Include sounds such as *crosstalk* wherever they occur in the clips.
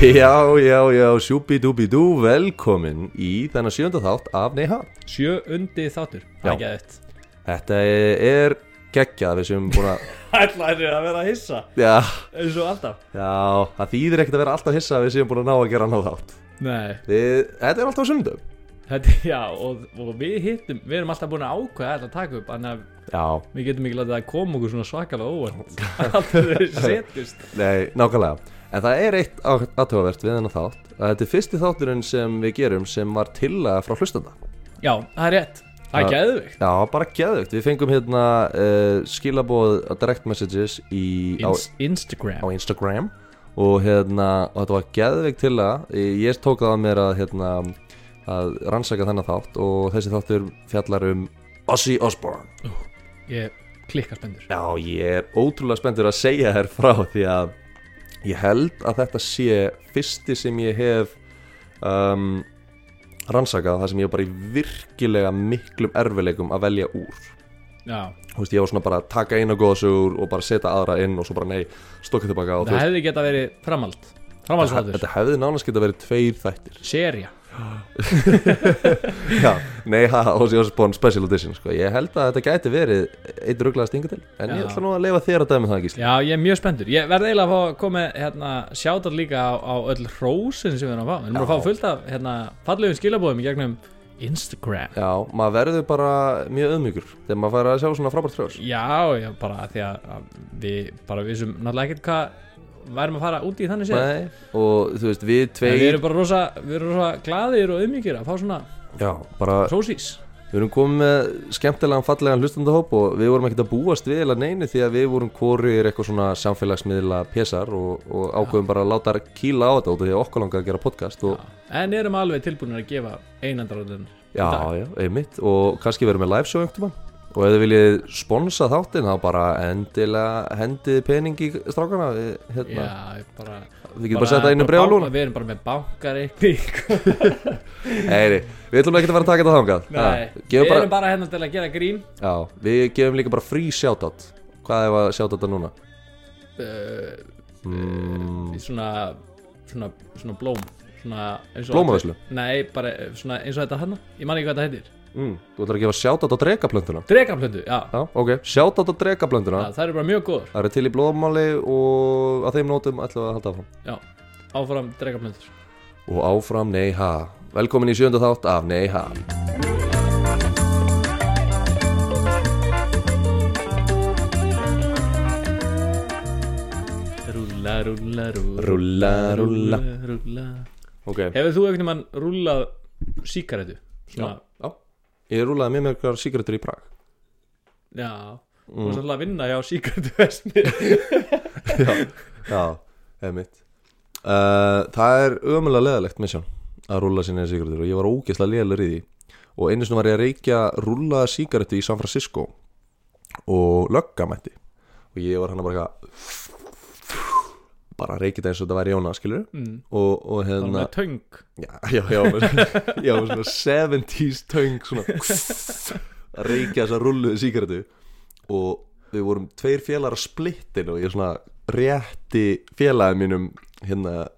Já, já, já, sjúbidúbidú, velkomin í þennan sjönda þátt af Neha Sjö undi þáttur Það er Já. gæðið Þetta er geggjað við sem búin að *laughs* Ætlaður er að vera að hissa Já, eins og alltaf já, það þýðir ekkert að vera alltaf hissa að við sem búin að ná að gera náð þátt Nei við, Þetta er alltaf á sundum Þetta, já, og, og við hittum Við erum alltaf búin að ákveða þetta að taka upp Þannig að Já, við getum ekki látið að koma okkur svona *laughs* svakalega óvart Alltaf þau setjust nei, nákvæmlega En það er eitt á- aðhugavert við þennan þátt að Þetta er fyrsti þátturinn sem við gerum sem var tillaga frá hlustanda Já, það er rétt Það er Já. gæðið Já, bara geðvögt, við fengum hérna uh, skilabóð direct messages í, á, á Inst Instagram Instagram og hérna, og þetta var geðveik til að ég tók það að mér að hérna að rannsaka þennan þátt og þessi þáttur fjallar um Ozzy Osbourne Ég klikkar spendur Já, ég er ótrúlega spenntur að segja þér frá því að ég held að þetta sé fyrsti sem ég hef um, rannsakað það sem ég var bara í virkilega miklum erfileikum að velja úr Já Þú veist, ég var svona bara að taka eina góða sögur og bara setja aðra inn og svo bara nei, stokka tilbaka og þú Það hefði geta verið framhald Framhaldsfaldur þetta hefði nánast geta verið tveir þættir Serja Já, nei, ha, Ozzy Osbourne Special Edition sko. Ég held að þetta gæti verið eitt rugglaða stinga til En ég Já. ætla nú að leifa þér að dæmi það, Gísli Já, ég er mjög spendur Ég verði eiginlega að fá að koma með, hérna, sjátar líka á, á öll rósin sem við erum að fá Við erum Já. að fá fullt af hérna, fallegum skilabóðum í gegnum Instagram Já, maður verður bara mjög öðmjögur Þegar maður fær að sjá svona frábært frjóðs Já, já, bara af því að að við bara vissum náttúrulega ekkert hvað værum að fara út í þannig séð Nei, og þú veist, við En tveir Við erum bara rosa, við erum rosa glaðir og umíkir að fá svona Já, bara, rósís við erum komið með skemmtilegan, fallegan hlustandahóp Og við vorum ekkert að búast við eða neinu Því að við vorum korið eitthvað svona samfélagsmiðla pesar Og, og ákveðum bara að láta kýla á þetta út af Því að okkur langaði að gera podcast og, En erum alveg tilbúinir að gefa einandaröndin Já, dag. já, einmitt og kannski verðum með live show einhvern tímann og ef þið viljið sponsa þáttinn þá bara endilega hendið pening í strákana við, hérna, Já, ég bara við getum bara sett það inn um brjálúna Við erum bara með bankareikning Eiri, við ætlum ekki að fara að taka þetta þangað Nei, Ha, við gefum bara, erum bara hérna til að gera grín já, Við gefum líka bara frí shoutout Hvað er að shoutouta núna? uh, Mm, í eh, svona, svona, svona blóm svona eins og- Blómaveislu? Nei, bara eh, svona eins og þetta hann Ég man ekki hvað þetta heitir mm, þú ætlar að gefa shoutout á drekablönduna Dregaplöndu, já Já, ok, shoutout á drekablönduna Það eru bara mjög góður Það eru til í blóðmáli og að þeim nótum ætlum við að halda áfram já. Áfram dregaplöndur Og áfram Nei Ha Velkomin í sjönda þátt af Nei Ha Rúlla, rúlla, rúlla Rúlla, rúlla. rúlla. Ok, Hefur þú einhvern veginn rúllað síkaretu? Svona, Já, ég rúlaði með mér hverjar sigarettur í Prag já, Mm. Þú varst alltaf að vinna hjá *laughs* síkaretuvesni Já, eða mitt uh, Það er ömulega leðalegt með sjón að rúla sinni sigarettur og ég var ógeðslega leðalur í því og einu sinni var ég að reykja rúlaða sigarettu í San Francisco og löggamætti og ég var hann að bara eitthvað bara að reykja þetta eins og þetta væri Jóna skilur Mm. og, og Það var hérna með töng Já, já, já, með, já, með svona 70s töng svona að reykja þessa rulluðu sígaretu og við vorum tveir félagar á splittin og ég svona rétti félagin mínum hérna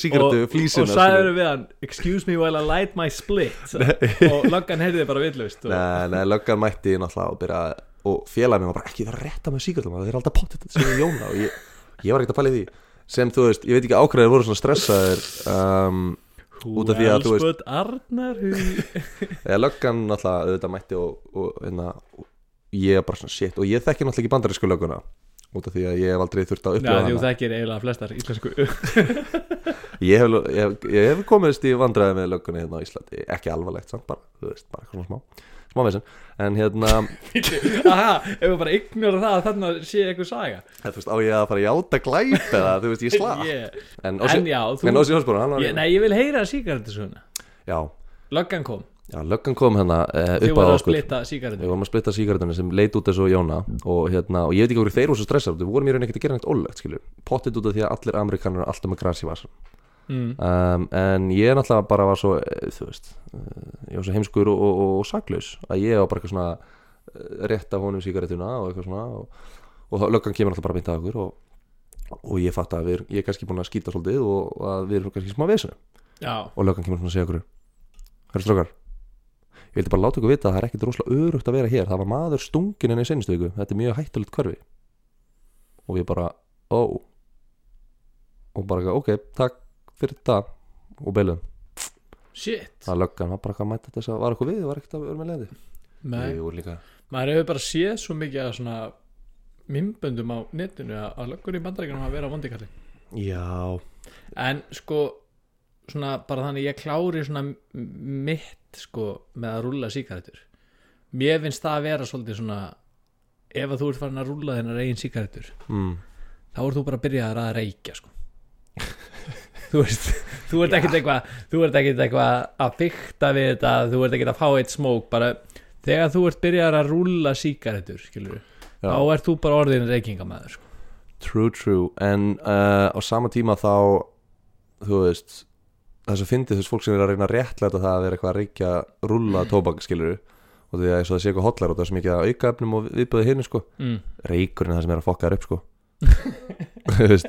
sígaretu flísina Og sagður við hann Excuse me while I light my *laughs* split Og löggan heyrði bara vitlaust og- Nei, nei, löggan mætti náttúrulega og byrja og félagin mín var bara ekki það rétta með sígaretum það er alltaf pottet þetta sem er Jóna og ég, ég var ekkert að pæla í því sem þú veist, ég veit ekki ákveðir voru svona stressaðir um, Who út af því að þú else but Arnar who- eða löggan náttúrulega auðvitað mætti og, og, hérna, og ég bara svona shit og ég þekki náttúrulega ekki bandarísku lögguna út af því að ég hef aldrei þurft að Já, upplifa því hana þekkir eiginlega flestar íslensku *laughs* ég hef, ég, hef, ég hef komist í vandræði með löggunni hérna á Íslandi, ekki alvarlegt samt bara, þú veist, bara eitthvað svona smá smá veginn, en *laughs* hérna Aha, ef við bara ignora það að þarna sé eitthvað saga þú veist, á ég að fara að játa glæp eða þú veist, ég slá *laughs* Ég- en En já, þú- Ósi Hálsbúrun, hann var ég, Nei, ég vil heyra sígarendu svona já, Löggan kom, já, löggan kom hérna eh, þau upp á voru að okkur splitta við sígarendu vorum að splitta sígaretunni sem leit út þessu Jóna og, hérna, og ég veit ekki okkur þeir voru svo stressar við vorum í raun ekkert að gera neitt ólögt skilju pottit út af því að allir amerikanar er alltaf með græs í vasan mm. um, en ég náttúrulega bara var svo eh, þú veist, eh, ég var svo heimskur og, og, og, og saklaus að ég var bara eitthvað svona eh, rétt af honum sígaretuna og eitthvað svona og, og þá- löggan kemur alltaf bara að mynda okkur og, og ég fatt að við, ég er kannski búin að skýta svolítið og að við erum kannski smá vesinu já, og löggan kemur svona að segja okkur Hörru strókar, ég vildi bara láta ykkur vita að það er ekkit rosalega örugt að vera hér það var maður stungin henni í seinustu viku þetta er mjög hættulegt hverfi og við bara, ó og bara, eitthvað, ok, takk fyrir það og beilum shit það löggan var bara eitthvað að mæta til þess að var eitthvað við var ekkert að vera með leiði Nei, Jú, líka maður hefur bara séð svo mikið að svona minnböndum á netinu að, að löggur í bandaríkjunum að vera vondikalli Já, en sko svona bara þannig ég klári svona m- mitt sko með að rúlla síkaretur mér finnst það að vera svolítið svona ef að þú ert farin að rúlla þennar eigin síkaretur mm. þá ert þú bara að byrja að reykja sko. þú veist þú ert ekkert eitthvað þú ert ekkert eitthvað að fykta við þetta þú ert ekkert að fá eitt smók bara þegar þú ert byrjað að rúlla síkaretur skilur Já. þá ert þú bara orðin reykingamæður sko. True, true En uh, á sama tíma þá Þú veist Það sem fyndi þess fólk sem er að reyna að réttlæta það að vera eitthvað að reykja rúlla tóbak skilur og því að eins og það sé eitthvað hotlar og það sem ekki að auka efnum og viðböðu hinn sko mm. reykurinn er það sem er að fokka þær upp *laughs* sko Þú veist,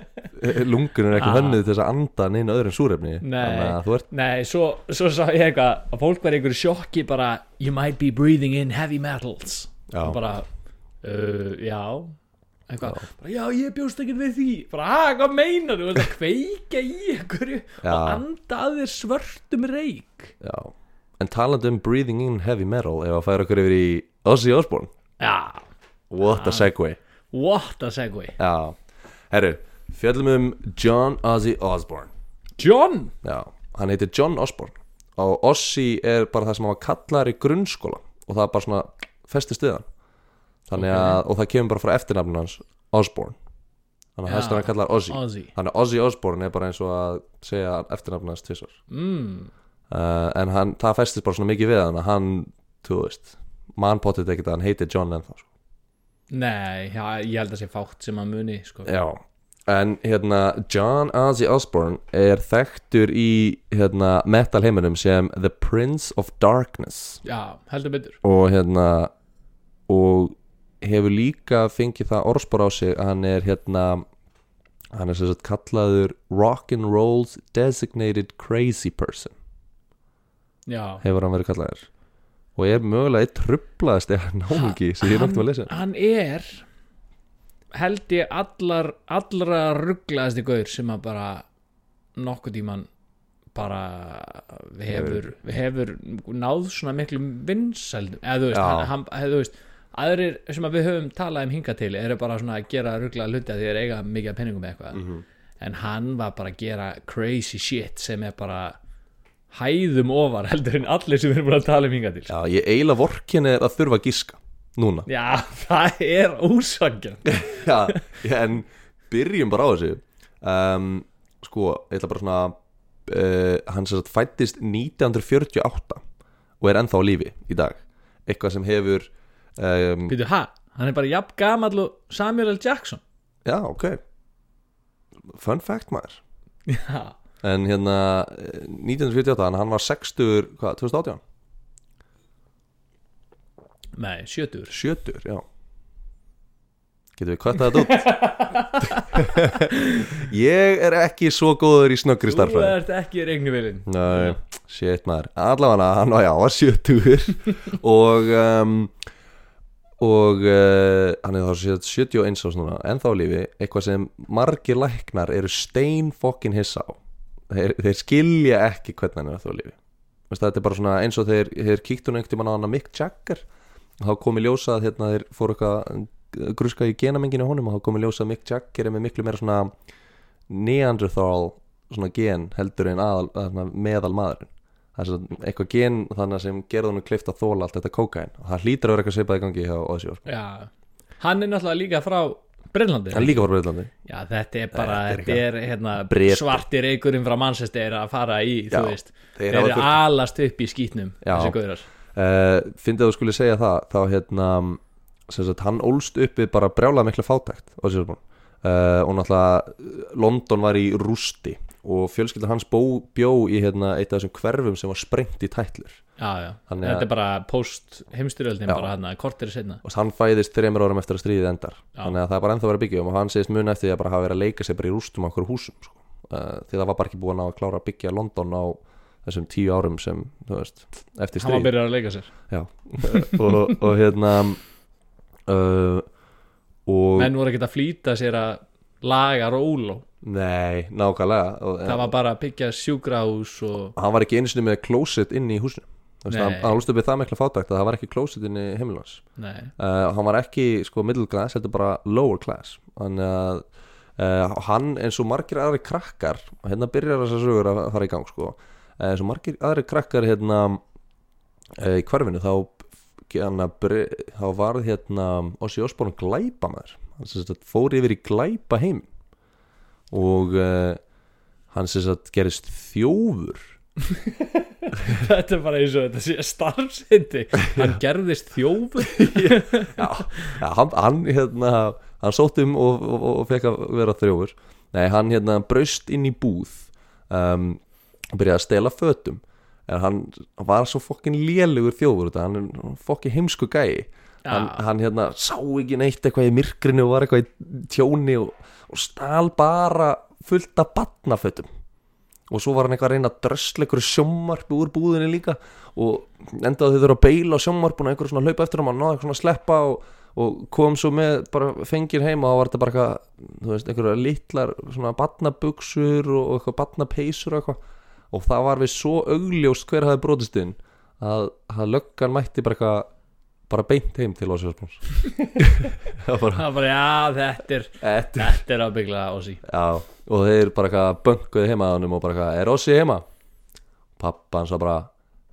lungun er ekki Ah. hönnuð til þess að anda neina öðrum súrefni Nei. að þú ert nei, svo, svo sá ég eitthvað að fólk var í einhverju sjokki bara you might be breathing in heavy metals Já. og bara uh, já eitthvað, bara, já ég bjóst ekkert við því bara, hæ, hvað meinar þú, það kveika í einhverju Já. og anda að þér svörtum reik Já. En talandi um breathing in heavy metal ef að færa okkur yfir í Ozzy Osbourne já, What Ah. a segue what a segway Já, herru, fjöllum um John Ozzy Osbourne John, Já, hann heitir John Osbourne og Ozzy er bara það sem hann var kallar í grunnskóla og það er bara svona festist við hann þannig að, og það kemur bara frá eftirnafnum hans Osbourne þannig að Já. hæstur hann kallar Ozzy Ozzy þannig að Ozzy Osbourne er bara eins og að segja eftirnafnum hans tvisvar mm, uh, en hann, það festist bara svona mikið við hann að hann, þú veist mann potið ekkert að hann heitir John ennþá sko. nei, já, ég held að sé fátt sem að muni sko. Já, en hérna John Ozzy Osbourne er þekktur í hérna, metal heiminum sem The Prince of Darkness já, heldur betur og hérna og hefur líka fengið það orðspor á sig að hann er hérna hann er sem sagt kallaður Rock'n'Roll's Designated Crazy Person já, hefur hann verið kallaður og er mögulega eitt trublaðast eða náungi sem ég náttúrulega að lesa hann er held ég allar allra rugglaðasti gaur sem að bara nokkuð tíman bara hefur, hefur náð svona miklu vinsældum eða þú veist, Já. hann, hann, eða, þú veist aðrir sem að við höfum talað um hinga til eru bara svona að gera rugglaða hluti að því er eiga mikið af penningum eða eitthvað Mhm. en hann var bara að gera crazy shit sem er bara hæðum ofar heldur en allir sem við erum búin að tala um hinga til Já, ég eila vorkin er að þurfa að gíska núna Já, *laughs* það er ósangjönd Já, en byrjum bara á þessu um, Sko, ég ætla bara svona uh, Hann sem sagt fættist 1948 og er ennþá á lífi í dag Eitthvað sem hefur um, Býtu, hæ? Hann er bara jafn gamall og Samuel L. Jackson Já, ok Fun fact maður Já, En hérna, eh, 1948, hann- hann var 60, hvað, 2018? nei, sjötur 70, já Getum við kvætt þetta út? *laughs* ég er ekki svo góður í snöggri Þú starfræði ert ekki regnuvillin Nei, shit maður Allavega hann var já, var 70 Og um, Og uh, Hann er þá séð 71 ás núna Ennþá á lífi, eitthvað sem margir læknar Eru stein fokkin hissa á þeir, þeir skilja ekki hvernig hann er ennþá á lífi Veistu, Þetta er bara svona eins og þeir, þeir kíktu nú einhvern tímann á hann að Mick Jagger Þá komi ljósa að hérna þeir fóru eitthvað uh, gruska í genamenginu á honum og þá komi ljósa að Mick Jagger er með miklu meira svona Neanderthal svona gen heldur en aðal, að, svona meðal maðurinn það er svona eitthvað gen þannig sem gerði hann kleift að þóla allt þetta kókain og það hlýtur að vera eitthvað svipað í gangi hjá Ozzy Osbourne Já, hann er náttúrulega líka frá Brynlandi hann er líka frá Breitlandi Já, þetta er bara, Þetta er þetta er hérna Bretar. svarti reykurinn frá Manchester að fara í, Já, þú veist þeir Þeir, hafa eru þurft- alast upp í skýtnum, Já. þessi gaurar uh, fyndið að þú skulle segja það þá hérna sem sagt, hann ólst uppi bara brjála mikla fátækt Ozzy Osbourne uh, og náttúrulega London var í rústi og fjölskyldan hans bó, bjó í hérna, eitt af þessum hverfum sem var sprengt í tætlur já, já. Þannig að- þetta er bara post heimstyrjöldin Já. bara hann að kortir setna og hann fæðist þreymur árum eftir að stríðið endar Já. þannig að það er bara ennþá verið að byggja um og hann segist mun eftir því að bara hafa verið að leika sér bara í rústum á okkur húsum sko. uh, því það var bara ekki búin að klára að byggja London á þessum tíu árum sem þú veist, eftir hann var stríð byrjar að leika sér Já. og, og hérna uh, og menn voru ekki að flýta sér að laga róló nei, nákvæmlega og, eh, það var bara að byggja sjúkrahús og hann var ekki einu sinni með closet inn í húsinu Þú veist, Nei. hann, hann lústu upp við það mikla fátækt að það var ekki closet inn í heimilans nei, uh, hann var ekki sko middle class, þetta er bara lower class þannig að uh, hann eins og margir aðri krakkar og hérna byrjar þessar sögur að fara í gang sko Eh, eins og margir aðri krakkar hérna uh, í hverfinu þá hérna, bre- þá varð hérna Ossi Osborn glæpa maður hann sem sagt fór yfir í glæpa heim og uh, hann sem sagt gerist þjófur þetta er bara eins og þetta sé starfsindi *laughs* hann gerðist þjófur já, já, hann, hann hérna hann sótt um og, og, og fekk að vera þrjófur nei, hann hérna braust inn í búð um, og byrjaði að stela fötum en hann var svo fokkin lélugur þjófur þetta, hann er fokkin heimsku gæi hann, hann hérna sá ekki neitt eitthvað í myrkrinu og var eitthvað í tjóni og, og stal bara fullt af batnafötum og svo var hann eitthvað að reyna að drösla einhverju sjómmarpi úr búðinni líka og endaði þau þurfa að beila á sjómmarpuna einhverju svona hlaupa eftir hann, hann náði eitthvað svona að sleppa og, og kom svo með bara fengir heim og þá var þetta bara eitthvað, þú veist, einhverja litlar svona batnabuxur og og eitthvað batnapeysur og eitthvað og það var við svo augljóst hver hafði brotist inn að, að löggan mætti bara eitthvað bara beint heim til Ósjóspons *laughs* það var bara það var bara, já, þetta er þetta þetta er ábygglega Ossi Já, og þeir bara eitthvað bönguði heima að honum og bara eitthvað, er Ossi heima? Pappa hans var bara,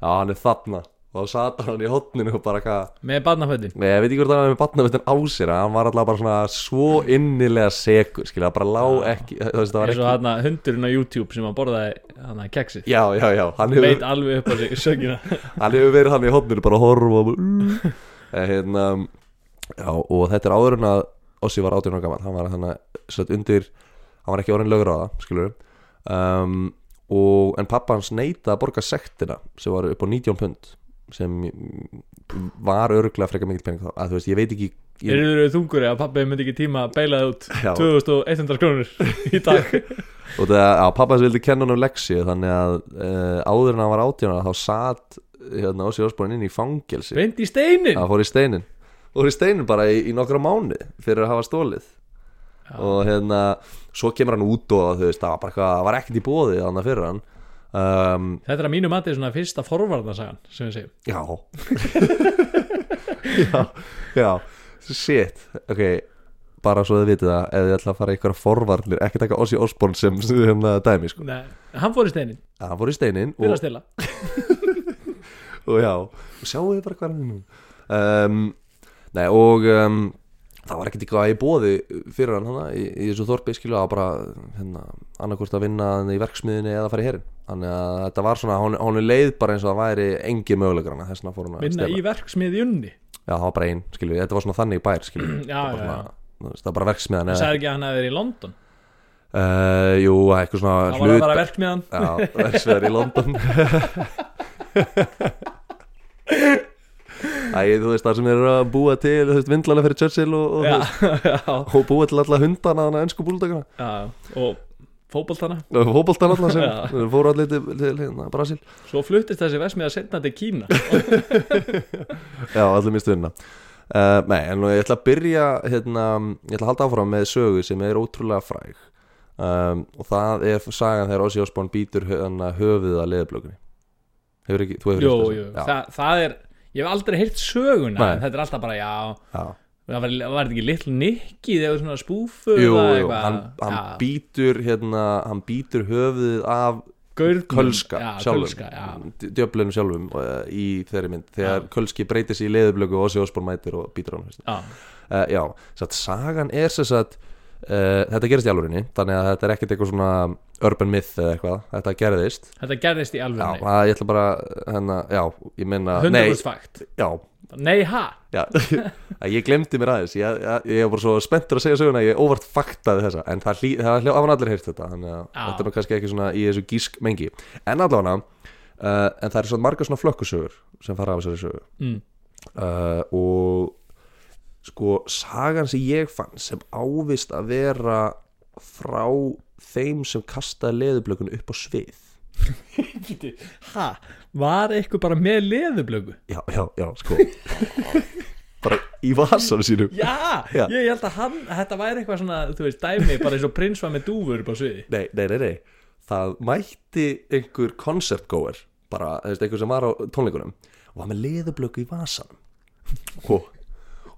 já hann er þarna og þá sat hann í hotninu og bara eitthvað með barnafötin Nei, ég veit ekki hvort hann var með batnafittin á sér en hann var alltaf bara svona svo innilega segur, skilja, bara lá ekki þú veist, það var eins og ekki hann hundurinn á YouTube sem hann borðaði hann að keksið Já, já, já, hann hefur, leit alveg upp á sig sögina hann hefur verið hann í hotninu bara að horfa og bara, uh, hérna, já, og þetta er áður en að Ossi var 18 ára gammal, hann var hann að undir, hann var ekki orðin lögur á það, skilur um, og, en pappa hans neita að borga sektina sem var upp á 19 pund sem mm, var örglega frekar mikil pening þá, að þú veist, ég veit ekki *laughs* ég, eru þau þungur eða pabbi myndi ekki tíma að beila það út Já. 2100 krónur í dag *laughs* og það, að pappa hans vildi kenna hann um leksi þannig að uh, áður en hann var 18 ára þá satt hérna Ósi Ósborn inn í fangelsi beint í steinin það fór í steinin fór í steinin bara í, í nokkra mánu fyrir að hafa stólið og hérna svo kemur hann út og þú veist, það var bara eitthvað, það var ekkert í bóði þannig fyrir hann um, þetta er að mínu mati svona fyrsta forvarnasagan sem við segjum já *laughs* já, já shit, ok bara svo þið vitið það, ef þið ætla að fara í eitthvað forvarnir, ekki taka Ossi Osborn sem sem hérna, dæmi, sko, Nei. hann fór í steinin að hann fór í steinin og, fyrir að stela og já, og sjáu þið bara hvað hann er nú um, Nei, og um, það var ekkert eitthvað í bóði fyrir hann hana í, í þessu þorpi, skilju, að bara hérna, annarkvort að vinna hann í verksmiðinni eða að fara í herin Þannig að þetta var svona, hún, hún leið bara eins og það væri engi mögulegur hana, þess vegna fór hann að minna stela í verksmiðjunni Já, það var bara einn, skilju, þetta var svona þannig bær, skilju já, Það var já, svona, já. þú veist, það var bara verksmiðan eða, sagði ekki að hann hafi verið í London uh, Jú, eitthvað svona það var að hluta- fara verksmiðan Já, verksmiðar í London Æ, þú veist, það sem eru að búa til þú veist, vindlana fyrir Churchill og, og, þú já, veist, *laughs* já, og búa til alla hundana þannig að ennsku búldakana já, og fótboltana og fótboltan alla Já. sem fóru allir til, til hérna, Brasil svo fluttist þessi versmiða setna til *laughs* Kína Já, allir mistu hérna uh, Nei, en nú ég ætla að byrja hérna, ég ætla að halda áfram með sögu sem er ótrúlega fræg um, og það er sagan þegar Ossi Osborn býtur hana, höfuð að leðublökunni Hefur ekki, þú hefur jú, heyrt þessa? jú, Já, Þa, það er ég hef aldrei heyrt söguna Nei. en þetta er alltaf bara, já já. það var, var þetta ekki litl nikki þegar svona spúfu Jú, eða jú, eitthvað? hann, hann Já. býtur hérna, hann býtur höfuðið af Gaurnum. Kölska já, sjálfum, kölska, já. d- djöflunum sjálfum uh, í þeirri mynd, þegar Já. Kölski breytir sér í leðublöku og Ossi Osborn mætir og býtur hann Já. uh, Já, satt, sagan er sem sagt uh, þetta gerist í alvörinni, þannig að þetta er ekkert eitthvað svona urban myth eða eitthvað, þetta gerðist þetta gerðist í Já, alveg að, ég ætla bara, hérna, já, ég minna Nei, 100% fakt já, nei, ha, Já, *laughs* að ég glemdi mér aðeins Ég, ég, ég var bara svo spenntur að segja söguna Ég óvart faktaði þessa En það, hlý, það hljó, af hann allir heyrt þetta Þannig að Já. þetta er nú kannski ekki svona í þessu gísk mengi En allavega uh, en það eru svona margar svona flökkusögur sem fara af þessari sögu Mm. uh, og sko sagan sem ég fann sem ávist að vera frá þeim sem kastaði leðublökun upp á svið ha, var eitthvað bara með leðublöku já, já, já, *laughs* sko bara í vasan sínum já, Já. ég held að hann, þetta væri eitthvað svona þú veist, dæmi, bara eins og prins var með dúfur upp á sviði nei, nei, nei, nei það mætti einhver concertgoer bara, þú veist, einhver sem var á tónleikunum og var með leðublöku í vasanum og,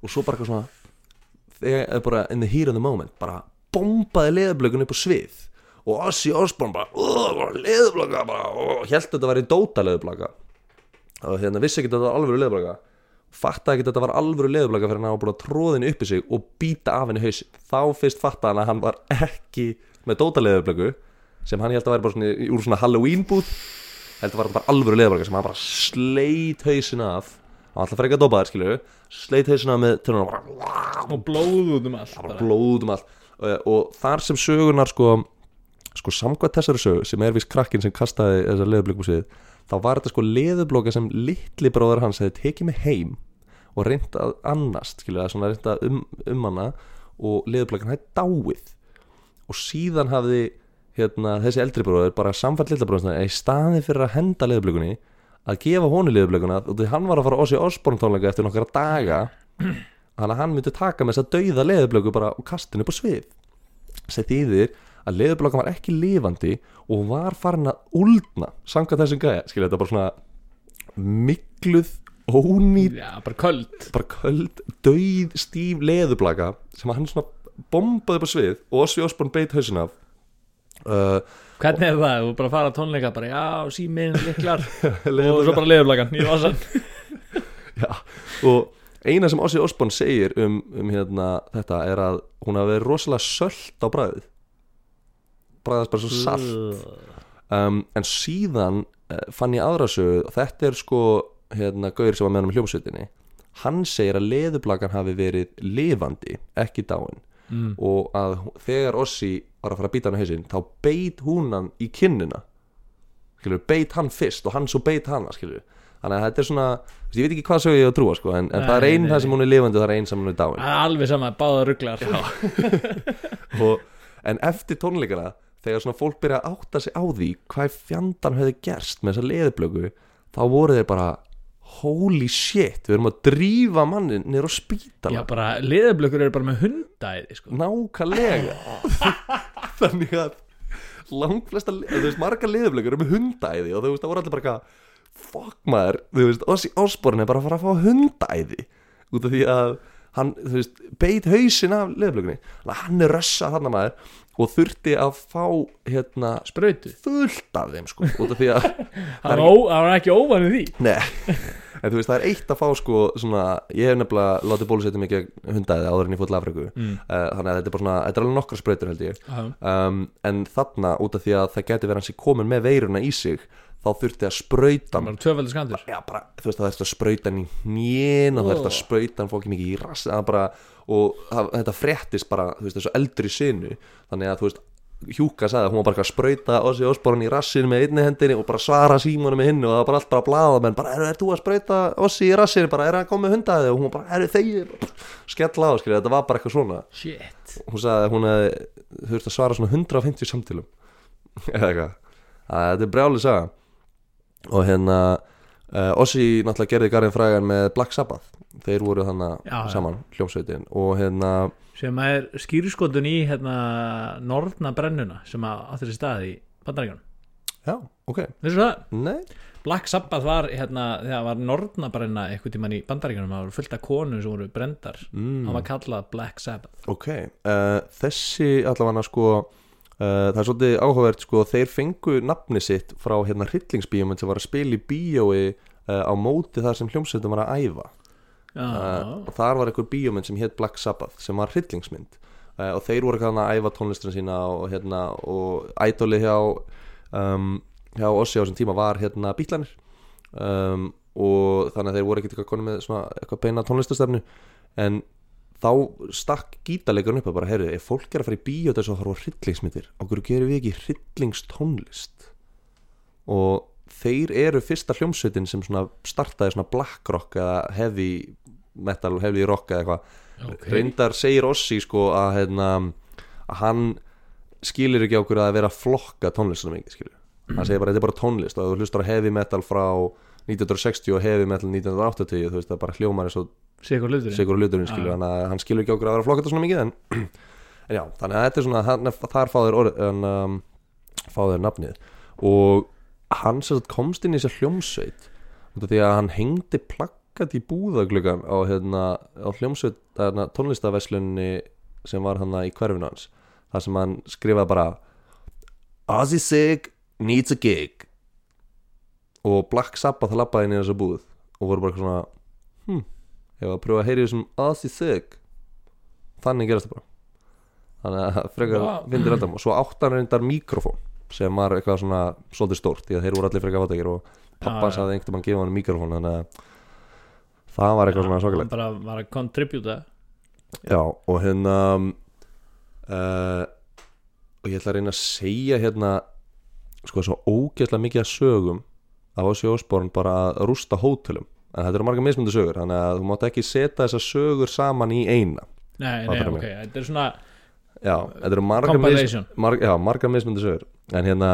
og svo bara eitthvað svona þegar eða bara in the heat of the moment bara bombaði leðublökun upp á svið og Ozzy Osbourne bara, "Ugh, bara leðublöka bara, og held þetta væri dóta leðublöka og hérna vissi ekki að þetta var alvöru leðublöka fattaði ekki að þetta var alvöru leðublöka fyrir hann var búin að tróða henni upp í sig og býta af henni haus þá fyrst fattaði hann að hann var ekki með dóta leðublöku sem hann held að væri bara svona, í- úr svona Halloween búð held að var þetta bara alvöru leðublöka sem hann bara sleit hausin af hann var alltaf frekar dópaðir skilju sleit hausin af með törnum og bara og blóð út um allt bara bara. blóð um allt Eh, og þar sem sögunar sko, sko samkvæmt þessari sögu sem er vist krakkin sem kastaði þessar leðublökum síð þá var þetta sko leðublóka sem litli bróður hans hefði tekið með heim og reynt að annast skilur það, svona reynt að um, um hana og leðublókan hefði dáið og síðan hafði hérna, þessi eldri bróður bara samfætt litla bróður sinna að í staði fyrir að henda leðublökunni að gefa honu leðublökunna og því hann var að fara oss í Osborn tónleika eftir nokkra daga þannig að hann myndi taka með þess að dauða leðublöku bara og kastinu upp á svið sem þýðir að leðublökan var ekki lifandi og var farin að úldna samkvæmt þessum gæja, skilja þetta er bara svona mikluð ónýt já, bara köld bara köld, dauð, stíf leðublaka sem hann svona bombaði upp á svið og Ossi Osborn beit hausin af uh, hvernig er það, þú bara fara á tónleika bara, já, síminn, liklar *laughs* og svo leðublaka bara leðublökan í vasan Já, og eina sem Ossi Osborn segir um, um hérna, þetta er að hún hafi verið rosalega sölt á bræðið bræðast bara svo salt um, en síðan uh, fann ég aðra sögu og þetta er sko hérna, Gaur sem var með hann um hljómsveitinni hann segir að leðublakan hafi verið lifandi, ekki dáin Mm. og að hú- þegar Ossi var að fara að býta hann á hausinn þá beit hún hann í kinnina skilur, beit hann fyrst og hann svo beit hana skilur. þannig að þetta er svona þú veist, ég veit ekki hvað sögu ég á að trúa sko, en, en Nei, það er einn nei, það sem hún er lifandi og það er einn sem hún er dáin *laughs* Það er alveg sama, báða rugglar og, en eftir tónleikana þegar svona fólk byrja að átta sig á því hvað í fjandan hefði gerst með þessa leðublöku þá voru þeir bara holy shit, við erum að drífa mannin niður á Já, spítala bara, leðublökur eru bara með hundæði sko. nákvæmlega þannig að langflesta, le- þú veist, marga leðublökur eru með hundæði og þú veist, það voru allir bara eitthvað fuck maður, þú veist, Ossi Osborn er bara að fara að fá hundæði út af því að hann, þú veist, beit hausinn af leðublökunni, hann er rössa þarna maður og þurfti að fá hérna, Sprautu fullt af þeim sko, út af því að Það var ó- það var ekki óvanið því Nei, en þú veist það er eitt að fá sko svona, ég hef nefnilega látið bólusetja mikið hundæði áður en ég fótt til Afríku mm. þannig að þetta er bara svona, þetta er alveg nokkra sprautur held ég Já. um, en þarna út af því að það geti verið hans í komin með veiruna í sig þá þurfti að sprauta Bara tvöfaldur skandur já bara, þú veist það þurfti að sprauta hann í hnjén og það þurfti að sprauta hann fókið mikið í rass það bara, og það, þetta fréttist bara, þú veist þessu eldri sinu þannig að þú veist Hjúka sagði að hún var bara eitthvað að sprauta Ossi Osborn í rassinu með einni hendinni og bara svara símónu með hinn og það var bara allt bara að blaða menn bara, er, er þú að sprauta Ossi í rassinu bara, er hann komið hundaði og hún bara, er þegið skella á, skilja, þetta var bara eitthvað svona Shit hún sagði að hún hefði þurft að svara svona 150 samtilum *laughs* eða eitthvað að þetta er brjálið saga og hérna uh, Ossi náttúrulega gerði Garðin frægan með Black Sabbath þeir voru þannig Já, já. saman hljómsveitin og hérna Sem að er skýrskotun í hérna Norðna brennuna sem að áttir þessi stað í Bandaríkjunum já, ok, Vissu það? nei Black Sabbath var hérna þegar var Norðna brenna eitthvað tímann í Bandaríkjunum það var fullt af konum sem voru brendar mm. hann var kallað Black Sabbath ok, uh, þessi allavega sko uh, það er svolítið áhugavert sko þeir fengu nafni sitt frá hérna hryllingsbíómynd sem var að spila í bíói uh, á móti þar sem hljómsveitin var að æfa Já, uh, og þar var einhver bíómynd sem hétt Black Sabbath sem var hryllingsmynd uh, og þeir voru kannan að æfa tónlisturinn sína og, hérna, og ædoli hjá um, hjá Ossi á þessum tíma var hérna bítlanir um, og þannig að þeir voru ekkert eitthvað konum með svona eitthvað beina tónlistastefnu en þá stakk gítarleikarinn upp að bara, heyrðu, ef fólk er að fara í bíó þess að horfa á hryllingsmyndir, okkur gerum við ekki hryllingstónlist og þeir eru fyrsta hljómsveitin sem svona startaði svona black rock eða heavy metal, heavy rock eða eitthvað Ok. reyndar segir Ossi sko að, hérna, að hann skilur ekki á okkur að vera að flokka tónlistunum mikið skilur, hann segir bara þetta er bara tónlist og ef þú hlustar á heavy metal frá 1960 og heavy metal 1980 þú veist það bara hljómar eins og Sigur hluturinn Sigur og Luturinn skilur hann að hann skilur ekki okkur að vera að flokka þetta svona mikið en, *clears throat* en já, þannig að þetta er svona hann, þar fáður orð, en, um, fáður nafnið og hann sem sagt komst inn í þessa hljómsveit út af því að hann hengdi plakkat í búðagluggan á, hérna, á hljómsveit hérna, tónlistaveslunni sem var hann í hverfinu hans þar sem hann skrifaði bara Ozzy Sig needs a gig og Black Sabbath labbaði inn í þessa búð og voru bara eitthvað svona "Hm, Ég var að pröfa að heyri þessum Ozzy Thug Þannig gerast það bara Þannig að *laughs* frekar Vá. vindir alltaf Og svo áttan reyndar mikrofón Sem var eitthvað svona svolítið stórt Því að þeir voru allir frekar vatækir Og Já, pappan já. sagði einhvern veginn að gefa hann mikrofón Þannig að það var eitthvað svona Hann svakalegt bara var að kontributa Já og hérna uh, Og ég ætla að reyna að segja hérna Sko svo ógeðslega mikið að sögum Af Ozzy Osbourne bara að rústa hótelum En þetta eru marga mismundu sögur Þannig að þú mátt ekki setja þessar sögur saman í eina Nei, Það nei, bara ok, þetta er svona Já, þetta eru margar mis, compilation marg, já, margar mismundu sögur En hérna,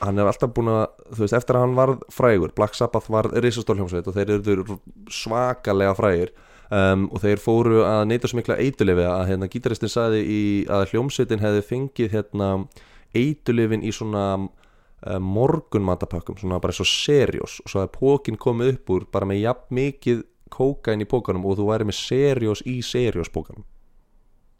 hann er alltaf búin að Þú veist, eftir að hann varð frægur Black Sabbath varð risastórhjómsveit Og þeir eru svakalega frægir um, Og þeir fóru að neyta svo mikla eitulifi Að hérna, gítaristin sagði í, að hljómsveitin hefði fengið hérna, Eitulifin í svona uh, morgunmatapökkum Svona bara svo seriós Og svo að pókin komið upp úr Bara með jafn mikið kókain í pókanum Og þú væri með seriós í seriós pókanum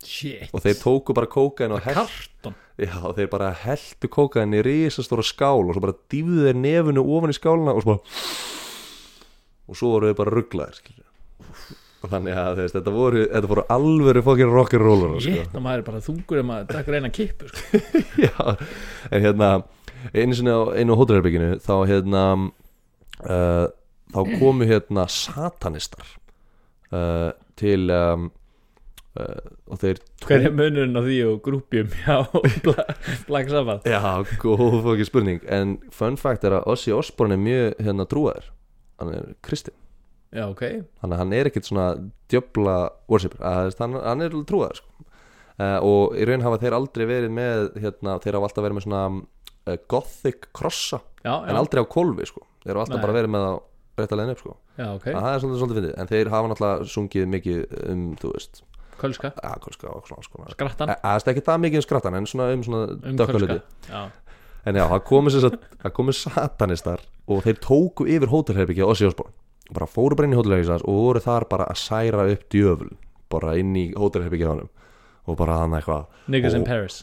Shit, og þeir tóku bara kókain og hell, karton já, þeir bara heldu kókain í risastóra skál og svo bara dýfðu þeir nefunu ofan í skáluna og svo bara og svo voru þeir bara rugglaðir skilurðu. og þannig að þeir, þetta voru þetta voru alvöru fokkin rock'n'roller sko. Shit, og maður er bara þungur um að drekka reyna kippu sko. *laughs* já, en hérna einu sinni á einu hótelherbygginu þá hérna uh, þá komu hérna satanistar uh, til um, uh, og þeir Hver er munurinn á því og grúpjum *laughs* Já, Bla- Black Sabbath Já, góð fókið spurning En fun fact er að Ossi Osborn er mjög hérna trúaður Hann er kristinn Já, ok Þannig að hann er ekkit svona djöfla worshipper að, þú veist, hann, hann er alveg trúaður sko. uh, Og í raun hafa þeir aldrei verið með hérna, Þeir hafa alltaf verið með svona uh, gothic krossa Já, En já, aldrei á kolvi sko. Þeir hafa alltaf Nei. bara verið með það rétt að leiðin upp sko. já, ok En Það er svolítið svolítið fyndið En þeir hafa náttúrulega sungið mikið um, þú veist Kölska, Akolska og svona sko. skrattan Það er ekki það mikið um skrattan En svona um svona Um dökka hluti kölska Já, En já, það komu, sem sagt, það komu satanistar og þeir tóku yfir hótelherbyggja Ossi Osborn bara fóru bara inn í hótelherbyggja hans og voru þar bara að særa upp djöful bara inn í hótelherbyggja honum og bara hann eitthvað Niggas in Ó. Paris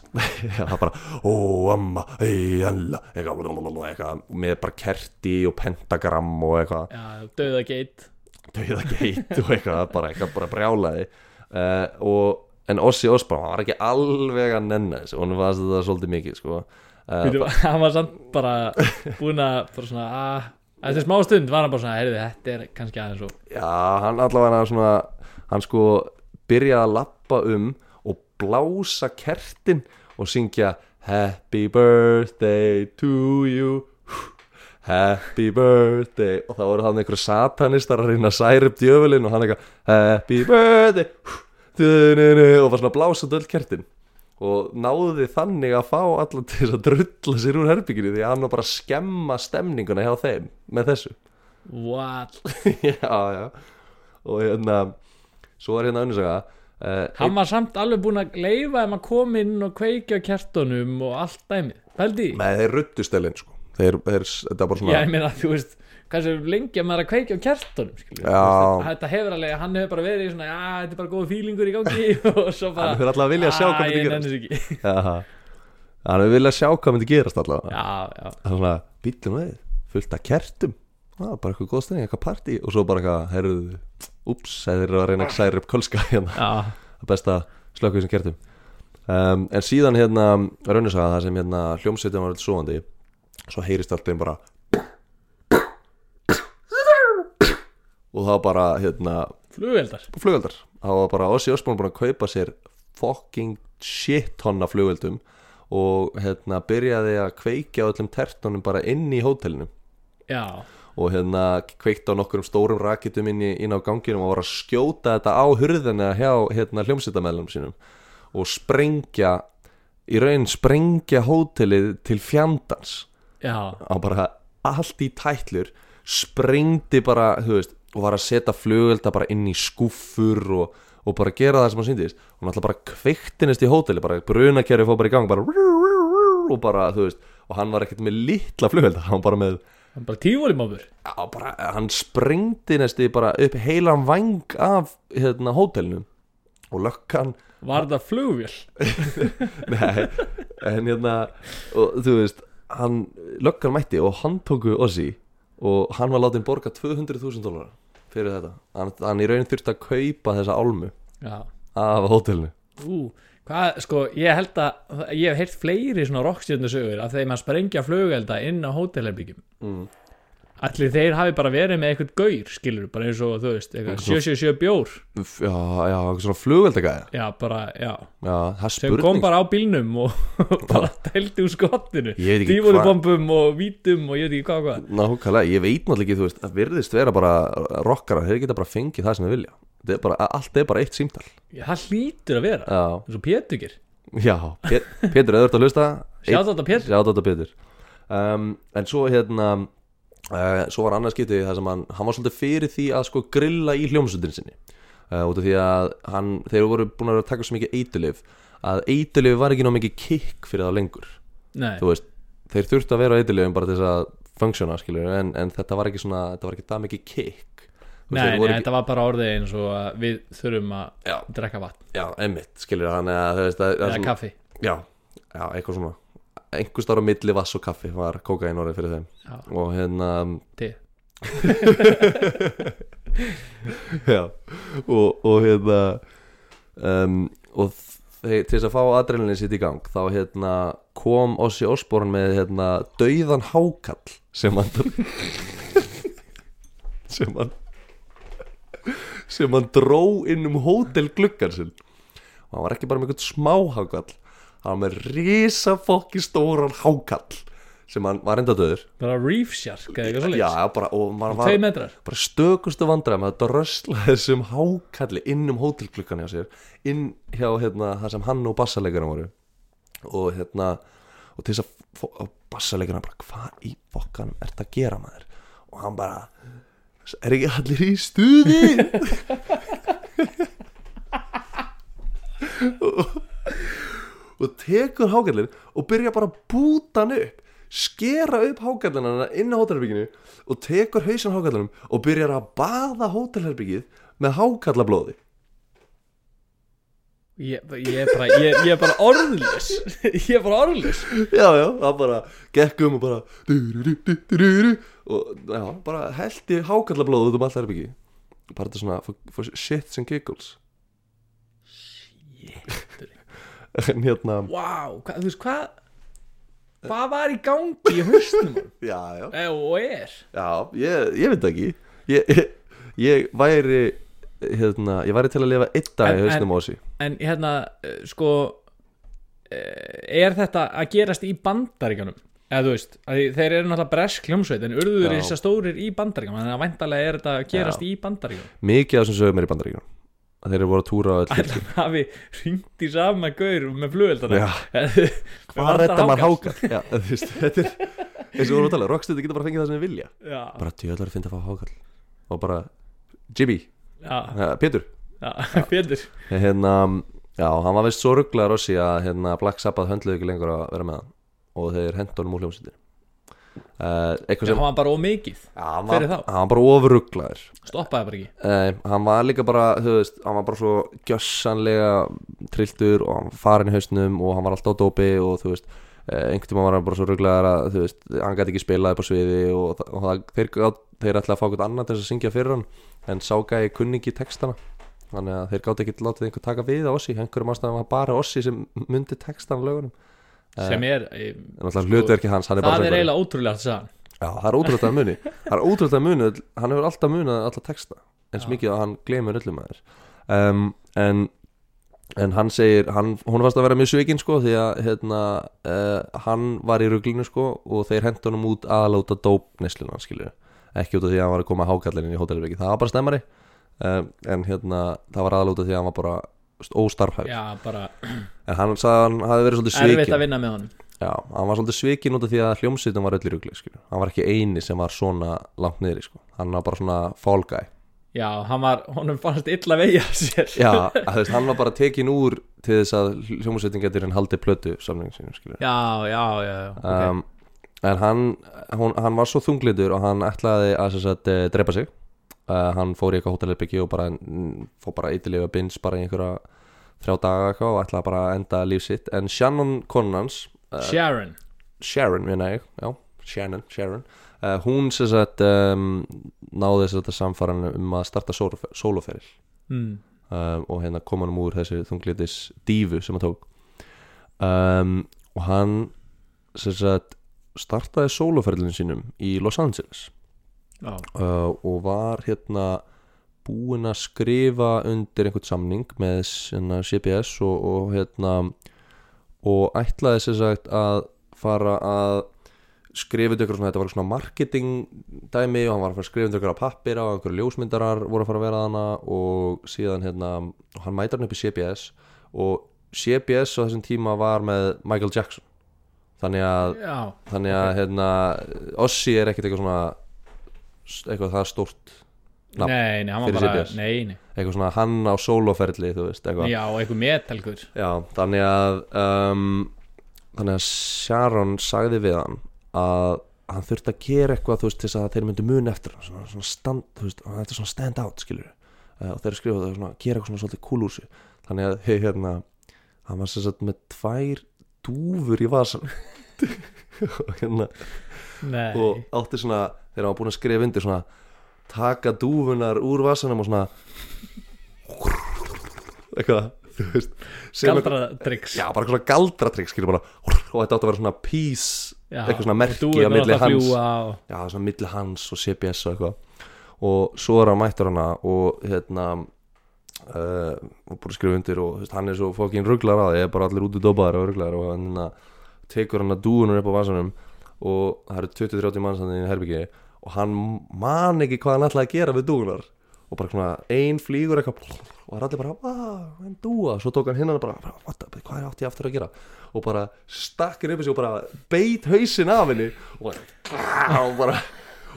það bara, ó amma, ei, alla eitthvað, blablabla, eitthvað, með bara kerti og pentagram og eitthvað Já, döða geit dauða geit *laughs* og eitthvað, bara eitthvað bara brjálaði uh, og, en Ossi Osborn, hann var ekki alveg að nenna þessu, hún var þetta svolítið mikið sko. uh, Býtu, hann var samt bara búin að bara svona að Eftir smá stund var hann bara svona, heyrði, þetta er kannski aðeins og Já, hann allavega svona, hann sko byrjaði að lappa um og blása kertin og syngja Happy birthday to you Happy birthday og það voru hann einhver satanistar að reyna að særa upp djöfulinn og hann eitthvað Happy birthday du-du-du-du, og var svona að blása döll kertin og náði þannig að fá allan til þess að drulla sér úr herbygginu því að hann var bara að skemma stemninguna hjá þeim með þessu What? *laughs* já, já og hérna, svo er hérna önnusaga uh, Hann var samt alveg búin að leifa um að koma inn og kveikja á kertunum og allt dæmi Pældi, í? með þeir ruttu stelin sko. þeir, þeir, þetta er bara svona ég meina, þú veist Hversu lengi að maður er að kveikja á kertunum skilur við? Já. Þú veist, Þetta hefur alveg, hann hefur bara verið í svona Já, þetta er bara góð fílingur í gangi *laughs* Og svo bara Hann hefur allavega viljað sjá hvað "Æ, myndi ég gerast." nenni þessu ekki. Jaha. hann er vilja sjá hvað myndi gerast allavega Já, já, það er svona, býtlum við, fullt af kertum það er bara eitthvað góð stending, eitthvað partí og svo bara eitthvað, heyrðu, ups þeir eru að reyna að særa upp kölska hérna já það besta slökkuð sem kertum um, en síðan hérna rauninsaga það sem hérna hljómsveitin var öll svoandi svo heyrist allt einn bara og það var bara hérna Flugveldar flugöldar, það var bara Ossi Osborn búin að kaupa sér fucking shit tonna flugöldum og hérna byrjaði að kveikja á öllum tertunum bara inn í hótelinu já, og hérna kveikt á nokkrum stórum rakitum inn, í, inn á ganginum og var að skjóta þetta á hurðina hjá hérna, hljómsveitamæðlum sínum og sprengja í raun sprengja hótelið til fjandans já hann bara allt í tætlur sprengdi bara, þú veist og var að setja flugölda bara inn í skúffur og, og bara gera það sem hann síndist og náttúrulega bara kveiktinist í hóteli bara brunakerfi fór bara í gang bara, og bara, þú veist, og hann var ekkert með litla flugölda, hann var bara með hann bara tífólimófur á, bara, hann sprengdi næstu bara upp heilan vang af hérna hótelinu og lökkan *laughs* var það flugvél Nei, en hérna og þú veist, hann löggan mætti og hann tóku Ossi og hann var látið borga 200.000 dólar fyrir þetta, hann, hann í raun þurfti að kaupa þessa álmu já, af hótelinu ú Hvað, sko, ég held að ég hef heyrt fleiri svona rockstjörnusögur af þeim að sprengja flugelda inn á hótelherbyggjum Mm. Allir þeir hafi bara verið með eitthvað gaur, skilur, bara eins og þú veist, eitthvað 777 bjór, F- já, já, einhver svona flugveldagæði já, bara, já, já, það er sem kom spurning bara á bílnum og *laughs* bara tældi úr skottinu, Ég veit ekki hvað- dífólubombum og vítum og ég veit ekki hvað og hvað. nákvæmlega, ég veit náttúrulega ekki, þú veist, það virðist vera bara rockarar, þeir geta bara fengið það sem þeir vilja Þetta er bara, allt er bara eitt símtal Það hlýtur að vera, já, eins og Pétugir, já, Pét, Pétur, eða þú ert að hlusta sjá þetta Pétur, Sjátt þetta betur um, En svo hérna uh, Svo var annað skiptið þar sem hann Hann var svolítið fyrir því að sko grilla í hljómsundin sinni uh, Út af því að hann, Þeir voru búin að vera að taka svo mikið eitulif Að eitulif var ekki ná mikið kikk Fyrir það lengur nei, Þú veist, Þeir þurftu að vera á eitulifum bara til þess að Funksjóna skilur en, en þetta var ekki svona Þetta var ekki það mikið kikk Þú veist, nei, þeir nei, voru ekki- þetta var bara orðið eins og að við þurfum að Já. drekka vatn, Já, emmitt skilur hann eða, veist, að, eða kaffi, Já, já, eitthvað svona Einhvers staðar á milli vass og kaffi var kókain orðið fyrir þeim Já. Og hérna, til. Já, og, og hérna um, og þeir, til þess að fá adrenalin sitt í gang þá hérna kom Ossi Osborn með hérna dauðan hákall sem hann *laughs* sem hann sem hann dró inn um hótelgluggan sinn og hann var ekki bara með einhvern smá hákall hann var með risa fokki stóran hákall sem hann var enda döður bara reef shark eða eitthvað já, svolítið, bara, og maður var tvei metrar bara stökustu vandræðum að drösla þessum hákalli inn um hótelklukkan hjá sér inn hjá hérna, það sem hann og bassalegarna voru og hérna og til þess að fó- og bassalegarna bara hvað í fokkanum ert að gera maður og hann bara er ekki allir í stuði *laughs* og tekur hákallin og byrja bara að búta hann upp skera upp hákallinana inn á hótelherbygginu og tekur hausan hákallinum og byrjar að baða hótelherbyggið með hákallablóði Ég, ég, er bara, ég, ég er bara orðlis *laughs* Ég er bara orðlis já, já, það bara gekk um og bara du-du-du-du-du-du-du og já, bara heldi hákallablóð út um allt herbyggi bara þetta svona for, for shits and giggles *laughs* en hérna, Vá, hva, þú veist hvað Hvað var í gangi í hausnum honum? já, já Eh, og er já, ég, ég veit það ekki ég, ég, ég væri hérna, ég væri til að lifa einn dag í En- en- hausnum á þessi En hérna, eh, sko eh, Er þetta að gerast í bandaríkanum? Eða þú veist, að því þeir eru náttúrulega bresk hljómsveit En urður Já. þess að stórir í bandaríkanum Þannig að væntalega er þetta að gerast í bandaríkanum mikið af þessum sögum er í bandaríkjum að þeir eru voru að túra á öll Ætla að *laughs* hafi hringt í sama gaur með flugeldana *laughs* Já. hvað Hvað redda maður hákall já, þú veist, þetta er eins og voru að tala, rockstuði geta bara fengið það sem þið vilja Já, bara tjóðlar að finna að fá hákall og bara, Jimmy, já, uh, Pétur já, *laughs* Pétur hérna, já, hann var veist svo rugglaður ossi að hérna, Black Sabbath höndluði ekki lengur að vera með hann og þeir hendur honum úr hljómsýttir uh, eitthvað Já, sem hann var bara ómikið, Já, hann fyrir var, þá. hann var bara ofrugglaður stoppaði bara ekki Nei, hann var líka bara, þú veist, hann var bara svo gjössanlega trilltur og hann var farin í hausnum og hann var alltaf á dópi og þú veist, eh, einhvern tíma var hann bara svo rugglegar að, þú veist, hann gæti ekki spilað upp á sviði og, þa- og það, þeir, gát, þeir ætlaði að fá eitthvað annað til þess að syngja fyrir hann en sá gæði kunningi textana þannig að þeir gáti ekki látið einhver taka við á Ossi, einhverjum ástæðan var bara Ossi sem myndi textan af lögunum sem er, eh, en alltaf hlutverki hans, hann er bara það er söngvari. eiginlega ótrúlega allt saman Já, það er ótrúlega að hann muni Það er ótrúlega að hann muni, hann hefur alltaf munið alla texta eins mikið að hann glemur öllum að þér um, En en hann segir, hann, hún fannst að vera mjög sveikinn sko því að hérna, uh, hann var í ruglinu sko og þeir hendur honum út aðlóta dópneslinu hann skilur ekki út af því að hann var að koma hákallin inn í hótelherbyggi það var bara stemmari uh, en hérna það var aðlóta því að hann var bara óstarfhæf já, bara en hann sagði að hann hafi verið svolítið erfitt sveikinn að vinna með honum já, hann var svolítið sveikinn út af því að hljómsveitin var öll í rugli skilur hann var ekki eini sem var svona langt niðri sko hann var bara svona fall guy já, hann var, honum fannst illa vegi af sér já, að, *laughs* þú veist, hann var bara tekin úr til þess að hljómsveitin getur hann haldi plötu samlingin sínum skilur *laughs* já, já, já, já, ok. um, en hann, hún, hann var svo þunglindur og hann ætlaði að sem sagt, eh, drepa sig uh, hann fór í eitthvað hótelherbyggi og bara, mm, fór bara eitthvað bins bara í einhverja þrjá daga eitthvað og ætlaði bara að enda líf sitt en Shannon konunans uh, Sharon Sharon, minna ég, já, Shannon, Sharon uh, hún sem sagt um, náði þess að samfara hann um að starta sólofer- sóloferil mm. um, og hérna kom hann úr þessu þunglitis dífu sem hann tók um, og hann sem sagt startaði sóloferðlun sínum í Los Angeles já, uh, og var hérna búinn að skrifa undir einhvern samning með hérna, CBS og, og hérna og ætlaði sér sagt að fara að skrifa undir ykkur svona, þetta var svona marketing dæmi og hann var að fara að skrifa undir ykkur á pappir og einhverju ljósmyndarar voru að fara að vera þarna og síðan hérna, og hann mætar hann upp í CBS og CBS á þessum tíma var með Michael Jackson þannig að já, þannig að hérna, Ossi er ekkert eitthvað svona eitthvað það stórt Nafn nei, nei, hann var fyrir bara CBS. nei, nei, eitthvað svona hann á sóloferli þú veist, eitthvað já, eitthvað metalgur Já, þannig að um, þannig að Sharon sagði við hann að hann þurfti að gera eitthvað þú veist, til þess að þeir myndu mun eftir hann, svona, svona stand, þú veist, hann eftir svona stand out skilur uh, og þeir skrifa það svona, gera eitthvað svona svolítið cool úr sig þannig að hey, hérna, hann var sem sagt með tvær dúfur í vasan *laughs* og hérna nei, og átti svona þegar hann var búin að skrifa undir svona taka dúfunar úr vasanum og svona eitthvað þú veist sem eitthvað- galdratryggs já bara eitthvað svona galdratrygg skilur bara og þetta átti að vera svona peace eitthvað svona merki á milli hans hans já svona milli hans og CBS og eitthvað og svo er hann mættur hana og hérna uh, og búin að skrifa undir og þú veist, hann er svo fokkin rugglar að því, er bara allir út í dopaðar og rugglar og hann hérna, tekur hann að dúunum upp á vasanum og það eru 20-30 manns hann í herbyggi og hann man ekki hvað hann ætlaði að gera við dúunar og bara svona ein flýgur eitthvað og hann allir bara, aaa, en dúa svo tók hann hinn hann bara, bara, what the, hvað er átti ég aftur að gera og bara stakk hann upp í sig og bara beit hausinn af henni og bara, og bara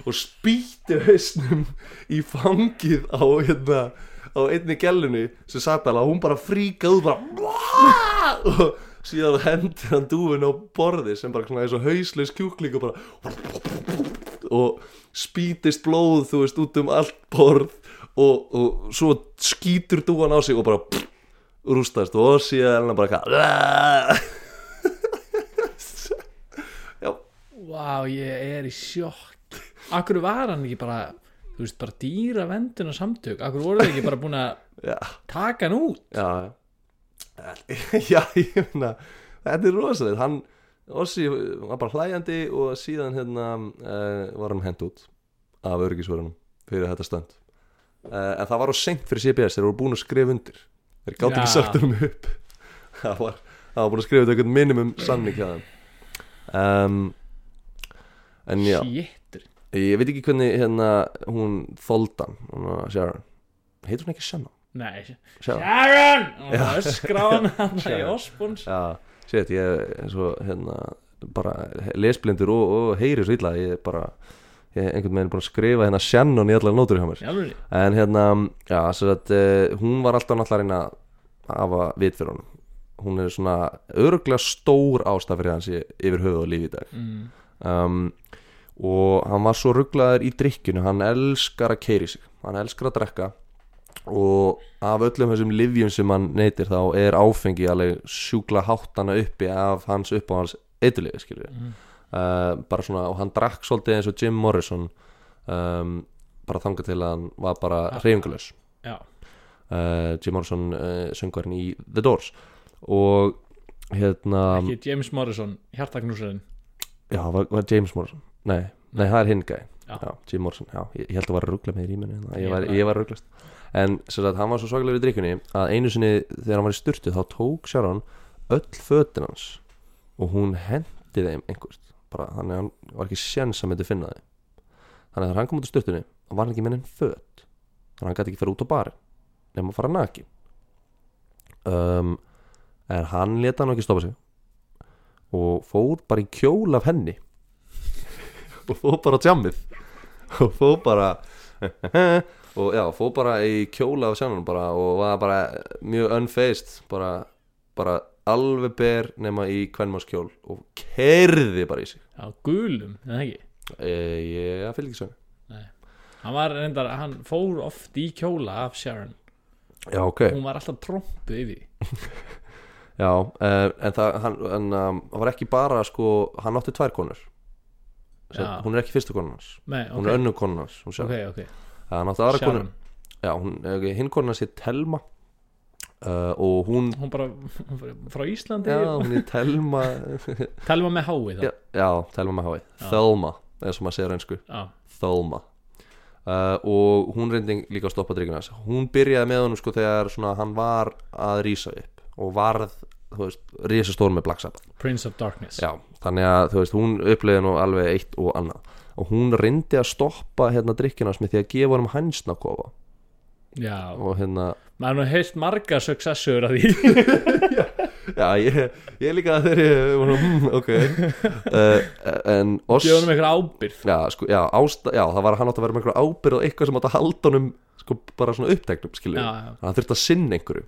og spýtti hausnum í fangið á hérna á einni gælunni sem sagt alveg að hún bara fríkaði bara *laughs* og síðan hendur hann dúfin á borði sem bara svona eins og hauslaus kjúkling og bara og spýtist blóð þú veist út um allt borð og, og svo skýtur dúan á sig og bara rústast og síðan er hann bara eitthvað já, Vá, ég er í sjokk Akkur var hann ekki bara þú veist, bara dýra venduna samtök Akkur voru þið ekki bara búin að *laughs* já taka hann út já, já. já *laughs* ég finna þetta er rosalegt hann Ossi var bara hlæjandi og síðan hérna uh, var hann hent út af örgisvörunum fyrir þetta stönd uh, en það var á seint fyrir CBS þeir voru búin að skrifa undir þeir gátt ekki Já. sagt um upp *laughs* það var, það var búin að skrifa undir einhvern minimum samning hjá þeim um, en já Jéttur ég veit ekki hvernig hérna hún þoldan, hún var Sharon heitur hún ekki Shannon? Nei, Sharon? Sharon Og það öskra á hann *laughs* hann í Sharon. Osborns Já, sétt, ég er svo hérna, bara lesblindur og, og heyri svo illa, ég er bara ég er einhvern veginn búin að skrifa hérna Shannon í allar nótur hjá mér. Já, alveg. En hérna, já, sér að eh, hún var alltaf náttúrulega að reyna að hafa vit fyrir honum. Hún er svona örglega stór ástafrið hans í- yfir höfuð og lífi í dag Mm. um, og hann var svo rugglaður í drikkinu hann elskar að keiri sig hann elskar að drekka og af öllum þessum livjum sem hann neytir þá er áfengi alveg sjúkla hátt hana uppi af hans uppáhans eitthulega skilur Mhm. uh, bara svona og hann drakk svolítið eins og Jim Morrison um, bara þangað til að hann var bara Ah. reyfingulegs Já, uh, Jim Morrison uh, söngvarinn í The Doors og hérna ekki James Morrison, hjartagnúsurinn Já, var, var James Morrison Nei, nei það er hinn gæ já. já, Jim Morrison, já, ég, ég held að var að ruggla með í rýminu hérna, ég var, ég var að rugglast en sem sagt, hann var svo svakalegur í drikkunni að einu sinni þegar hann var í sturtu þá tók Sharon öll fötin hans og hún hendi þeim einhvert bara, þannig að hann var ekki sjens að myndi finna þeim þannig að þegar hann kom út úr sturtunni hann var hann ekki með enn föt þannig að hann gæti ekki fyrir út á barinn nema að fara naki um, en hann leta hann ekki stoppa sig og fór bara í kjól af henni og fór bara á tjammið og fór bara *laughs* og já, fór bara í kjóla á sjánunum bara og var bara mjög unfazed bara, bara alveg ber nema í kvenmannskjól og kerði bara í sig á gulum, en það ekki e, Eh, ég ég fylg ekki sögni hann var reyndar, hann fór oft í kjóla af Sharon, já, ok, hún var alltaf trompu yfir því. já, e, en það hann, en, um, hann var ekki bara sko, hann átti tvær konur Sem, Já. hún er ekki fyrsta konan hans Nei, hún ok, er önnur konan hans hún ok, okay. ok hann átti aðra Sharon, konan já, hún, okay, hinn konan hans er Telma Uh, og hún, hún bara *laughs* hún bara- frá Íslandi, já, hún er Telma talum við með hái þá Já, já Telma með hái Thelma, eða sem maður segir einsku Já, Thelma uh, og hún reyndi líka að stoppa drikkuna hans hún byrjaði með honum sko þegar svona, hann var að rísa upp og varð, þú veist, risastór með Black Sabbath Prince of Darkness já, þannig að þú veist, hún uppleiði nú alveg eitt og annað og hún reyndi að stoppa hérna drikkuna hans með því að gefa honum hænsnakofa Já, og hérna, maður hefði heilt marga successur að því *laughs* já, ég, ég líka þegar ég, var svona, hmm, *laughs* ok uh, en oss Gjóðum eitthvað ábyrð Já, sko, já, ásta, já, það var að hann átt að vera með einhverja ábyrð og eitthvað sem átt að halda honum sko, bara svona uppteknum, skilju Já, já. hann þurfti að sinna einhverju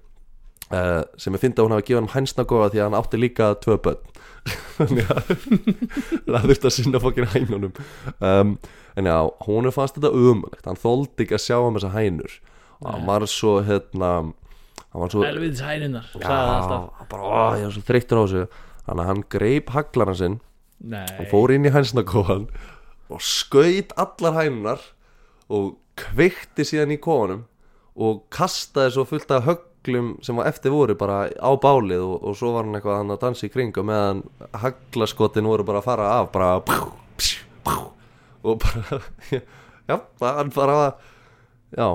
uh, sem ég fyndi að hún hafi gefið hann hænsnagóða því að hann átti líka tvö börn *laughs* þannig að þannig að hann þurfti að sinna fokkin hænunum um, en já, hún fannst þetta ömulegt hann þóldi ekki að sjá um þessa hænur og hann var svo hérna hann var svo Elviðs hærinnar, sagði það alltaf já, bara, ó, ég var svo þreyttur á þessu þannig að hann greip haglarna sinn Nei, og fór inn í hænsnakofan og skaut allar hænunar og kveikti síðan í kofanum og kastaði svo fullt af höglum sem var eftir voru bara á bálið og, og svo var hann eitthvað hann að dansa í kring og meðan haglaskotin voru bara að fara af bara pjú, pjú, pjú, og bara *laughs* já, hann bara já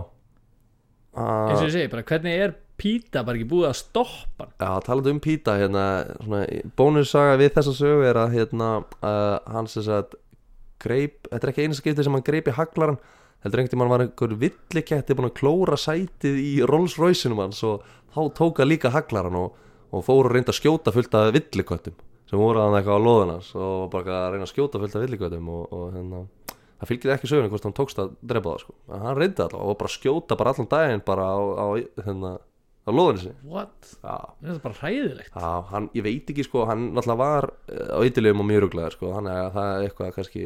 að eins og ég segi, bara hvernig er Píta bara ekki búið að stoppa hann Já, talandi um Píta hérna, svona, bónussaga við þessa sögu er að hérna, uh, hann sem sagt greip, þetta er ekki einu skipti sem hann greip í haglaran heldur einhvern tímann var einhver villiketti búin að klóra sætið í Rolls Royce-inum hans og þá tóka líka haglaran og, og fóru að reynda að skjóta fullt af villiköttum sem voru hann eitthvað á loðan hans og bara að reyna að skjóta fullt af villiköttum og, og hérna, það fylgir ekki sögunni hvort hann tókst að drepa það sko, en hann reyndi allavega og bara skjóta bara allan daginn bara á, á, hérna, á loðan sinni What? Já, Mér finnst Það er bara hræðilegt Já, hann, ég veit ekki sko, hann náttúrulega var eh, á ytterlegum og mjög ruglaður sko, hann er það er eitthvað kannski,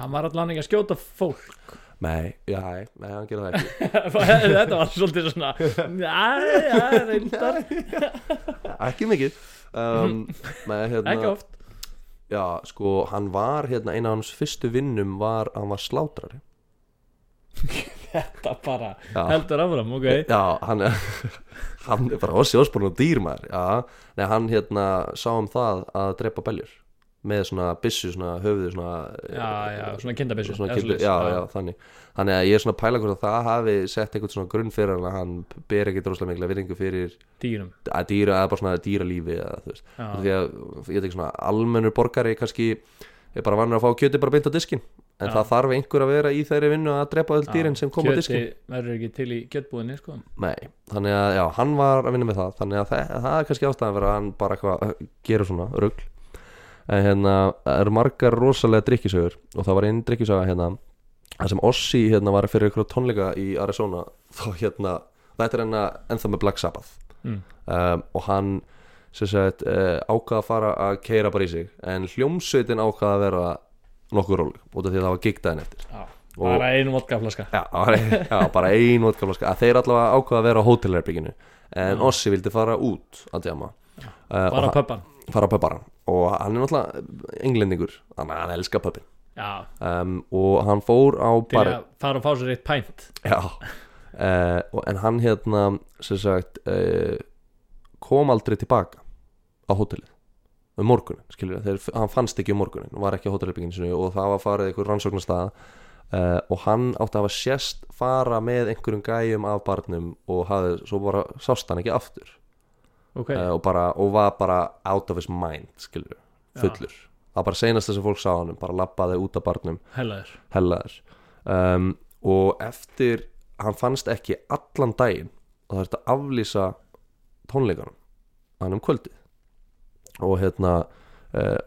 Hann var allan ekki að skjóta fólk *laughs* nei, já, nei, nei, hann gera það ekki, *laughs* Þetta var svolítið svona Næ, já, reyndar ekki mikið, um, *laughs* nei, hérna, Ekki oft já, sko, hann var, hérna, eina af hans fyrstu vinnum var, hann var slátrari, Þetta bara Já. heldur áfram, ok já, hann, hann er bara hossi óspórn og dýrmaður, já, nei, hann, hérna, sá um það að drepa beljur, með svona byssu, svona höfuðu, svona, eh, Já, já, svona kindabissu svona kippi, já, já, þannig þannig að ég er svona að pæla hvort að það hafi sett einhvern svona grunn fyrir hann að hann ber ekki droslega mikla virðingu fyrir Dýrum að dýra, að bara svona dýralífi eða, þú veist, Já. því að ég tek svona almennur borgari kannski er bara vannur að fá kjöti bara beint á diskin en það þarf einhver að vera í þeirri vinnu að drepa öll dýrin sem koma á diskin Kjöti verður ekki til í kjötbúðinni, sko Nei, þannig að já, hann var að vinna með það þannig að það, það er kannski ástæðan fyrir að hann bara eitthvað uh, gerir svona rugl en hérna það eru margar rosalega drikkisögur og það var einn drikkisöga hérna það sem Ossi hérna var fyrir ykkur tónleika í Arizona þá hérna, þetta er hérna ennþá með Black Sabbath Mm. um, og hann sem sagt uh, ákvaða að fara að keira bara í sig en hljómsveitin ákvaða að vera nokkuð róleg út af því að það var gigdaðin eftir Já, bara einu vodkaflaska Já, það var ein- já, bara ein vodkaflaska að þeir allavega ákvaða að vera á hótelherbygginu en Ossi vildi fara út að djama uh, Bara og á pöppan hann- fara á pöpparan og hann er náttúrulega englendingur þannig að hann elskar pöppin Já, um, og hann fór á til barinn að fara og fá sér eitt pænt Já uh, En hann hérna sem sagt uh, kom aldrei tilbaka á hótelið um morgunin, skilur við, þegar hann fannst ekki um morgunin var ekki á hótelbygginu sinu og það var farið einhver rannsóknarstað uh, og hann átti að hafa sérst fara með einhverjum gæjum af barnum og hafði, svo bara sást hann ekki aftur ok, uh, og, bara, og var bara out of his mind skilur, fullur það var bara seinast þess að fólk sá hann bara labbaði út af barnum hellaður hellaður um, og eftir hann fannst ekki allan daginn og það er að aflýsa tónleikanum hann um kvöldið og hérna uh,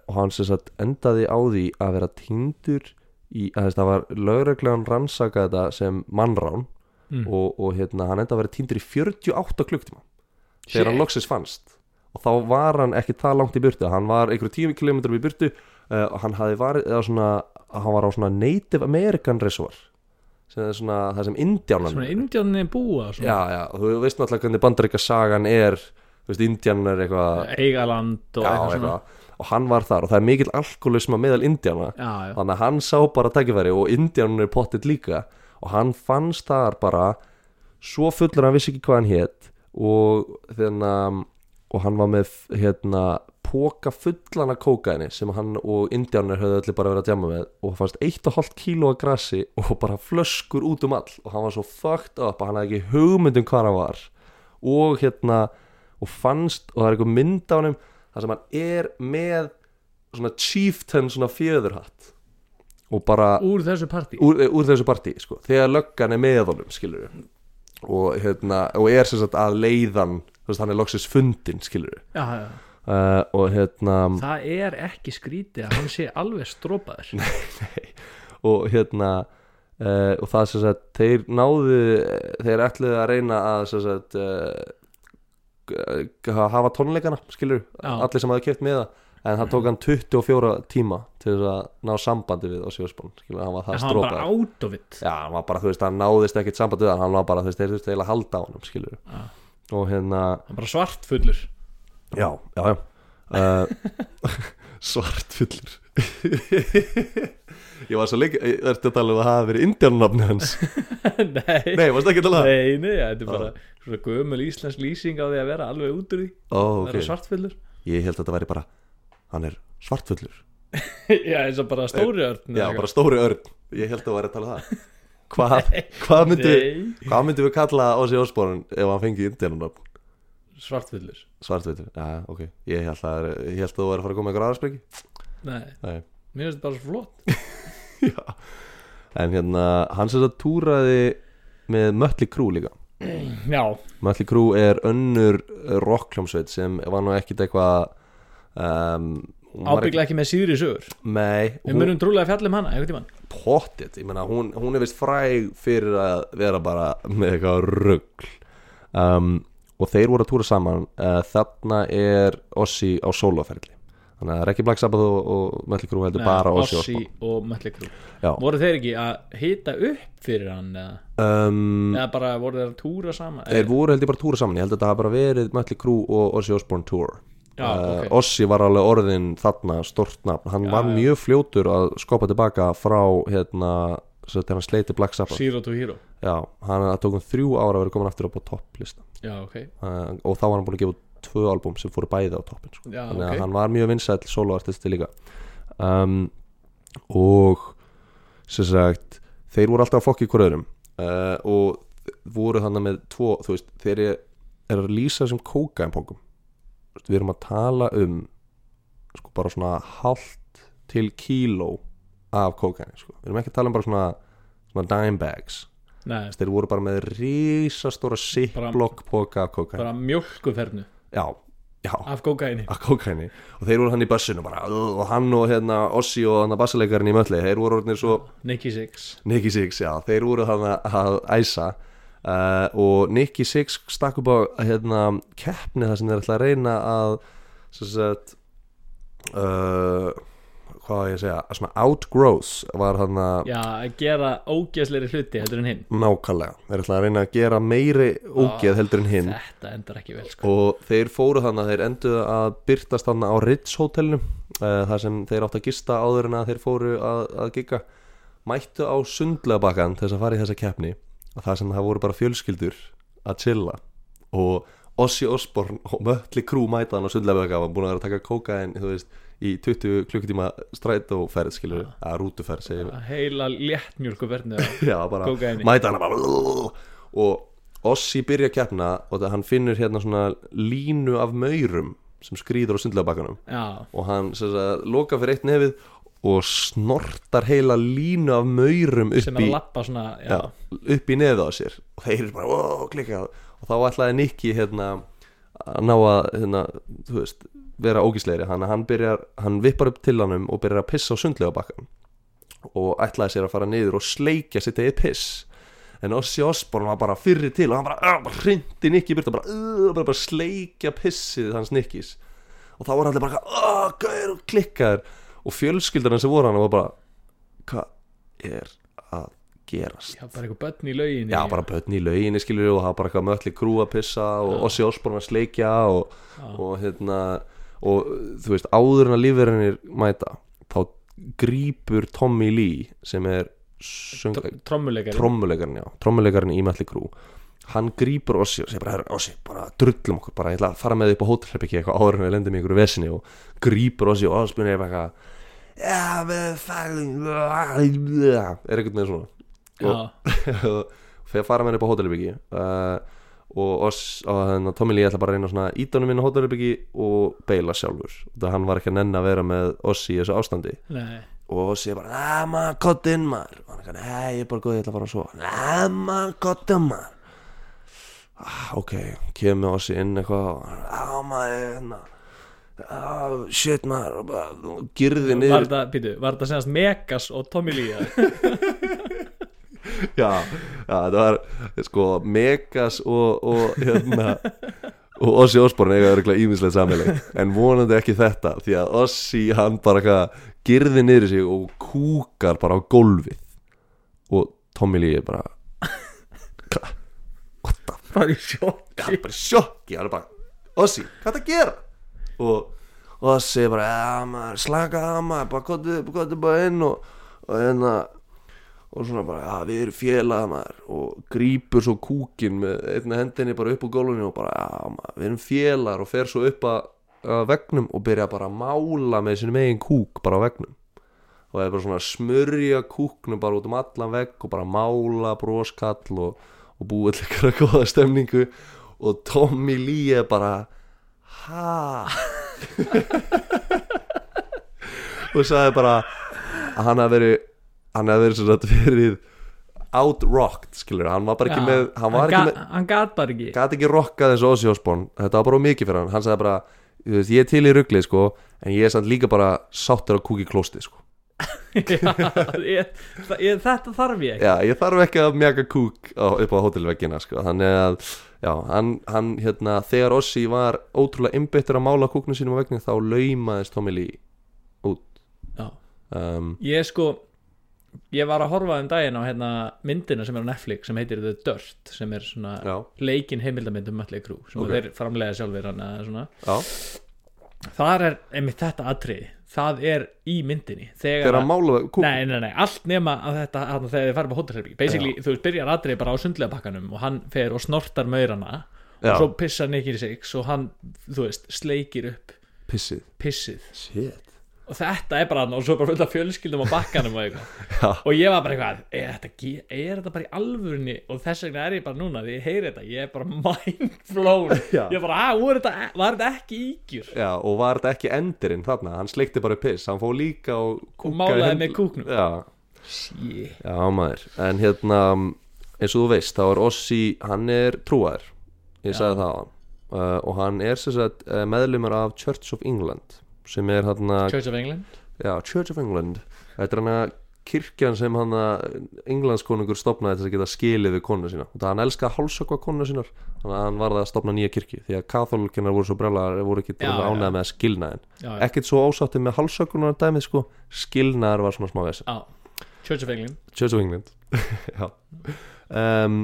og hann sem sagt endaði á því að vera týndur í, að þess, það var lögreglegan rannsakaði þetta sem mannrán Mm. og, og hérna hann endaði að vera týndur í 48 klukktíma þegar hann Shit. loksins fannst og þá var hann ekki það langt í burtu hann var einhverjum tíu kilometrum í burtu uh, og hann, hafði varið, eða svona, hann var á svona Native American Reservoir sem er svona það sem indjánan svona indjáninni búa svona. já, já, og þú veist náttúrulega hvernig bandaríka sagan er þú veist, indjánan er eitthvað eigaland já, og eitthvað svona eitthvað, og hann var þar og það er mikill alkoholisma meðal indjána já, já, þannig að hann sá bara tækifæri og indjánun er pottitt líka og hann fannst þar bara svo fullur að hann vissi ekki hvað hann hétt og þannig að og hann var með hérna póka fullan af kókaini sem hann og indjánur höfðu öllu bara verið að djama með og fannst eitt og hálft kíló af grassi og bara flöskur út um all og hann var svo fucked up að hann hafði ekki hugmynd um hvað hann var og hérna og fannst og það er einhver mynd á hann þar sem hann er með svona chieftain svona fjöðurhatt og bara úr þessu partí úr, úr þessu partí sko, þegar löggan er með honum skilur og, hérna, og er sem sagt að leiðan þú veist, hann er loksins fundin skilur já, já. uh, og hérna það er ekki skrítið að hann sé alveg strópaður og hérna uh, og það sem sagt, þeir náðu þeir ætluðu að reyna að sem sagt uh, hafa tónleikana skilur Já. allir sem hafði keft með það en það tók hann 24 tíma til þess að ná sambandi við á sjósbón skilur, hann var það en hann strópaður bara out of it Já, hann var bara, þú veist, hann náðist ekkert samband við hann hann var bara, þú veist, þeir þurfti eiginlega að halda á hann skilur Já. og hérna, hann bara svartfullur *laughs* já, já, já uh, *laughs* svartfullur *laughs* ég var svo líka, ég ertu að tala um að það hafi verið indjánunafni *laughs* hans nei, nei, varstu ekki að tala um það? nei, nei, þetta er bara svona gömul íslensk lýsing á því að vera alveg út úr því ó, að vera ok, svartfullur *laughs* ég held að þetta væri bara hann er svartfullur já, eins og bara stóri örn já, bara stóri örn, ég held að það væri að tala um *laughs* það hvað, hvað myndum við nei, hvað myndum við kalla Ósi Ósborun ef hann fengi indjánunafn? svartfullur svartfullur, já, ok ég held að, ég held að þú væri að fara að koma með einhver aðra spreki nei, Nei. mér finnst þetta bara svo flott En hérna, hann sem þetta túraði með Mötli Krú líka *clears throat* já, Mötli Krú er önnur rockljómsveit sem var nú ekkit eitthvað um, hún var ekki- ábyggla ekki með síðri sögur Nei, við hún munum trúlega fjallum hana, einhvern tímann pottit Ég meina, hún, hún er vist fræg fyrir að vera bara með eitthvað rugl um, Og þeir voru að túra saman uh, Þarna er Ossi á sóloferli Þannig að það er ekki Black Sabbath og, og Mötli Krú heldur bara Ossi Ossi og Mötli Krú Já. voru þeir ekki að hita upp fyrir hann eða, um, eða bara voru þeir að túra saman Þeir voru held ég bara túra saman, ég held að það hafa bara verið Mötli Krú og Ossi Osborn Tour Já, Eh, ok. Ossi var alveg orðin þarna stort nafn, hann var mjög fljótur að skopa tilbaka frá hérna, svo þegar hann sleiti Black Sabbath Zero to Hero Já, hann það tók um þrjú ára að vera komin aftur upp á topplista já ok, uh, og þá var hann búin að gefa út tvö album sem fóru bæði á toppin sko. já, þannig að ok. hann var mjög vinsæll soloartisti líka um, og sem sagt þeir voru alltaf að fokki ykkur öðrum uh, og voru þannig með tvo þú veist, þeir eru er að lýsa sem kókainpókum við erum að tala um sko bara svona hálft til kíló af kókaini sko. við erum ekki að tala um bara svona, svona dime bags Nei, þeir voru bara með risastóra ziplock póka af kókaini bara mjölkufernu já, já, af kókaini að kókaini og þeir voru hann í bassinu bara og hann og hérna Ossi og hann að bassalegarinn í mölli þeir voru orðinir svo Nicky Six Nicky Six, já, þeir voru hann að æsa uh, og Nicky Six stakk upp á hérna keppni þar sem þeir ætla að reyna að sem sagt uh, hvað á ég að segja að svona outgrowth var hann að já, að gera ógeðsleiri hluti heldur en hinn nákvæmlega, þeir ætla að reyna að gera meiri ógeð heldur en hinn þetta endar ekki vel sko og þeir fóru þannig að þeir enduðu að byrtast þannig á Ritz hótelinu uh, þar sem þeir átt að gista áður en að þeir fóru að, að gigga mættu á sundlegabakkan til þess að fara í þessa keppni og þar sem það voru bara fjölskyldur að chilla og Ossi Osborn og Mötli Krú mæta hann á sundlega var búin að vera að taka kókain þú veist, í 20 klukkutíma strætóferð skilur, ja. að rútuferð segir við. Að heila léttmjölku verðinu já, bara Kókaíni. mæta hann bara, og Ossi byrja að keppna og það, hann finnur hérna svona línu af maurum sem skrýður á sundlega Já, og hann sem sagt, loka fyrir eitt nefið og snortar heila línu af maurum upp sem er í að lappa svona já, já, upp í nefið á sér og þeir eru bara "Ó, klikkað og þá ætlaði Nicky hérna að ná að hérna, þú veist, vera ógísleiri hann, hann, byrjar, hann vippar upp til hannum og byrjar að pissa á sundlega bakkan og ætlaði sér að fara niður og sleikja sitt eða piss en Ossi Osborn var bara fyrri til og hann bara, "Ah", bara hrindi Nicky byrta bara, "Ugh", bara, bara sleikja pissið hans Nickys og þá voru allir bara "Ah, gaur og klikkaður og fjölskyldarinn sem voru hann var bara hvað er að gerast já, bara eitthvað börn í laugin Já, bara börn í lauginni skilur og það var bara eitthvað mölli krú að pissa og Ossi Osborn að sleikja og, og hérna og þú veist, áður en að lífverðinir mæta þá grípur Tommy Lee sem er sönga, Trommuleikari trommuleikarinn, já, trommuleikarinn í Mölli Krú hann grípur Ossi og segir bara, "Herra, Ossi, bara drullum okkur, bara ég ætla að fara með þig upp á hótelherbyggi eitthvað áður en við lendum í einhverju vesinni og grípur Ossi og Osborn er bara eitthvað Já, við fæðum er eitthvað með svona Já, og fyrir að fara með henni upp á hótelherbyggi uh, og, oss, og þannig, Tommy Lee ætla bara að reyna svona ídánum inn á hótelherbyggi og beila sjálfur það hann var ekki að nenn að vera með Ossi í þessu ástandi nei, og Ossi er bara "Ah, maður, kott inn maður og hann er kannar, hei, ég er bara góð, ég ætla að fara að sofa "Ah, maður, kott inn maður ah, ok, kemur Ossi inn eitthvað og hann er "Ah, maður, hérna ah, shit maður og bara girði var niður þetta, býtu, var þetta senast Megas og Tommy Lee eða? já, já, þetta var sko Megas og, og hérna og Ossi Osborn eiga örgulega íminslega samileg en vonandi ekki þetta því að Ossi hann bara hvað girði niður í sig og kúkar bara á gólfið og Tommy Lee er bara "Hva- what the bara í sjokk hann er bara í sjokki hann er bara, Ossi, hvað er að gera og Ossi er bara "Ja, maður, slaka það maður, bara kottu kottu bara inn og, og hérna og svona bara, já, við erum félaga maður og grípur svo kúkin með einna hendinni bara upp á gólfinu og bara, já, maður, við erum félagar og fer svo upp að, að vegnum og byrja bara að mála með sinni megin kúk bara á vegnum og það er bara svona að smörja kúknum bara út um allan vegg og bara mála broskall og, og búið til eitthvað góða stemningu og Tommy Lee er bara ha *laughs* og sagði bara að hann hafi verið hann hafi verið svona verið outrocked skilur, hann var bara ekki með hann var ekki með gat- hann gat bara ekki gæti ekki rokkað eins og Ozzy Osbourne þetta var bara of mikið fyrir hann, hann sagði bara þú veist, ég er til í ruggli sko en ég er samt líka bara sáttur að kúka í klósti sko Já, ég, það- ég, þetta þarf ég já, ég þarf ekki að mjaka kúk á, upp á hótelveggina sko þannig að, já, hann, hann hérna þegar Ozzy var ótrúlega einbyttur að mála kúknum sínum á vegna þá laumaðist Tommy Lee út Já. um, ég sko ég var að horfa um daginn á hérna, myndina sem er á Netflix sem heitir The Dirt sem er svona Já. leikin heimildamynd um Mötley Crüe sem Ok. þeir framlega sjálfur hana, eða svona. já, þar er einmitt þetta atriði það er í myndinni þegar, þegar hann mála kúk Nei, nei, nei, allt nema að þetta hann, þegar þið farið með hótelherbyggi basically, þú veist, byrjar atrið bara á sundlega bakkanum og hann fer og snortar maurana Já. og svo pissar Nicky Six og hann, þú veist, sleikir upp pissið pissið shit og þetta er bara hann og svo er bara fullt af fjölskyldum á bakkanum og *laughs* Já. eitthvað og ég var bara eitthvað, er þetta, ge- er þetta bara í alvörunni og þess vegna er ég bara núna því ég heyri þetta, ég er bara *laughs* mindflown Já. ég er bara, að, voru þetta, e-, var þetta ekki ígjur já, og var þetta ekki endurinn þarna hann sleikti bara upp piss, hann fór líka og og kúkaði málaði hönd- með kúknum já, sí, Já maður, en hérna eins og þú veist, þá er Ossi, hann er trúar, ég sagði það á hann uh, og hann er sem sagt eh, meðlumur af Church of England sem er hann að, Church of England já, Church of England þetta er hann að kirkjan sem hann að Englandskonungur stopnaði til að geta skilið við konu sína, og það hann elska að hálsökva konu sínar, þannig að hann varði að stopna nýja kirkju, því að kathólukinnar voru svo brellar voru ekki Já, já. ánægð með að skilnaðin já, já. ekkert svo ásáttir með hálsökunar dæmið sko, skilnaðar var svona smá vesen já, Church of England Church of England *laughs* Já um,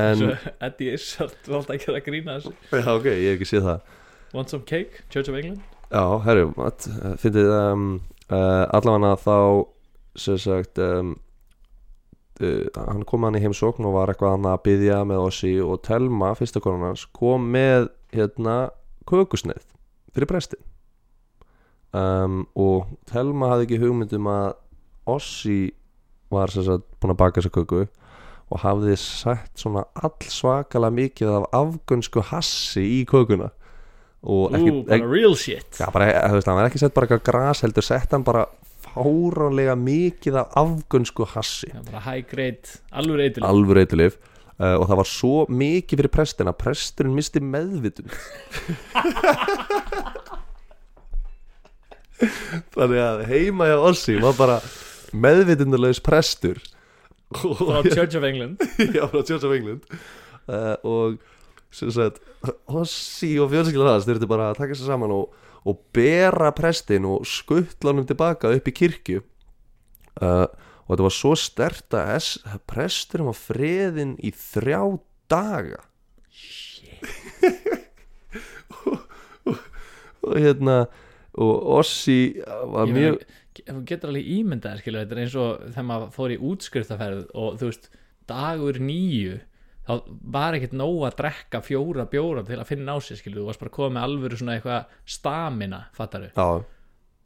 En Svo Eddie Izzard valdi ekki að grína þessu Já, ok, ég hef ekki séð það Want some cake, Church of England Já, herru, what? Uh, Fyndið um, uh, Allavega þá Sér sagt um, uh, hann kom hann í heimsókn og var eitthvað hann að byðja með Ossi og Telma, fyrsta konan hans kom með hérna kökusneið fyrir prestin um, og Telma hafði ekki hugmynd um að Ossi var sem sagt búin að baka þessa köku og hafði sett svona allsvakalega mikið af afgönsku hassi í kökuna og ekki, Ú, bara real shit Já, bara, eh, þú veist, hann var ekki sett bara eitthvað gras heldur sett hann bara fáranlega mikið af afgönsku hassi Já, bara high grade, alveg reytileg alveg reytilif uh, og það var svo mikið fyrir prestin að presturinn misti meðvitund þannig að heima hjá Ossi var bara meðvitundarlegs prestur frá Church of England *laughs* já, frá Church of England uh, og sem sagt Hossi og fjölskyldur hans þurfti bara að taka sér saman og, og bera prestin og skuttla honum tilbaka upp í kirkju uh, og þetta var svo stert að es- að presturinn var freðin í þrjá daga *laughs* og, og, og hérna og Ossi var Ég mjög meina, ge- þú getur alveg ímyndað þér, skilur, þetta er eins og þegar maður fór í útskriftaferð og þú veist, dagur nýju þá var ekkert nóg að drekka fjóra bjóra til að finna á sig skilur, þú varst bara að koma með alvöru svona eitthvað stamina, fattaru, já,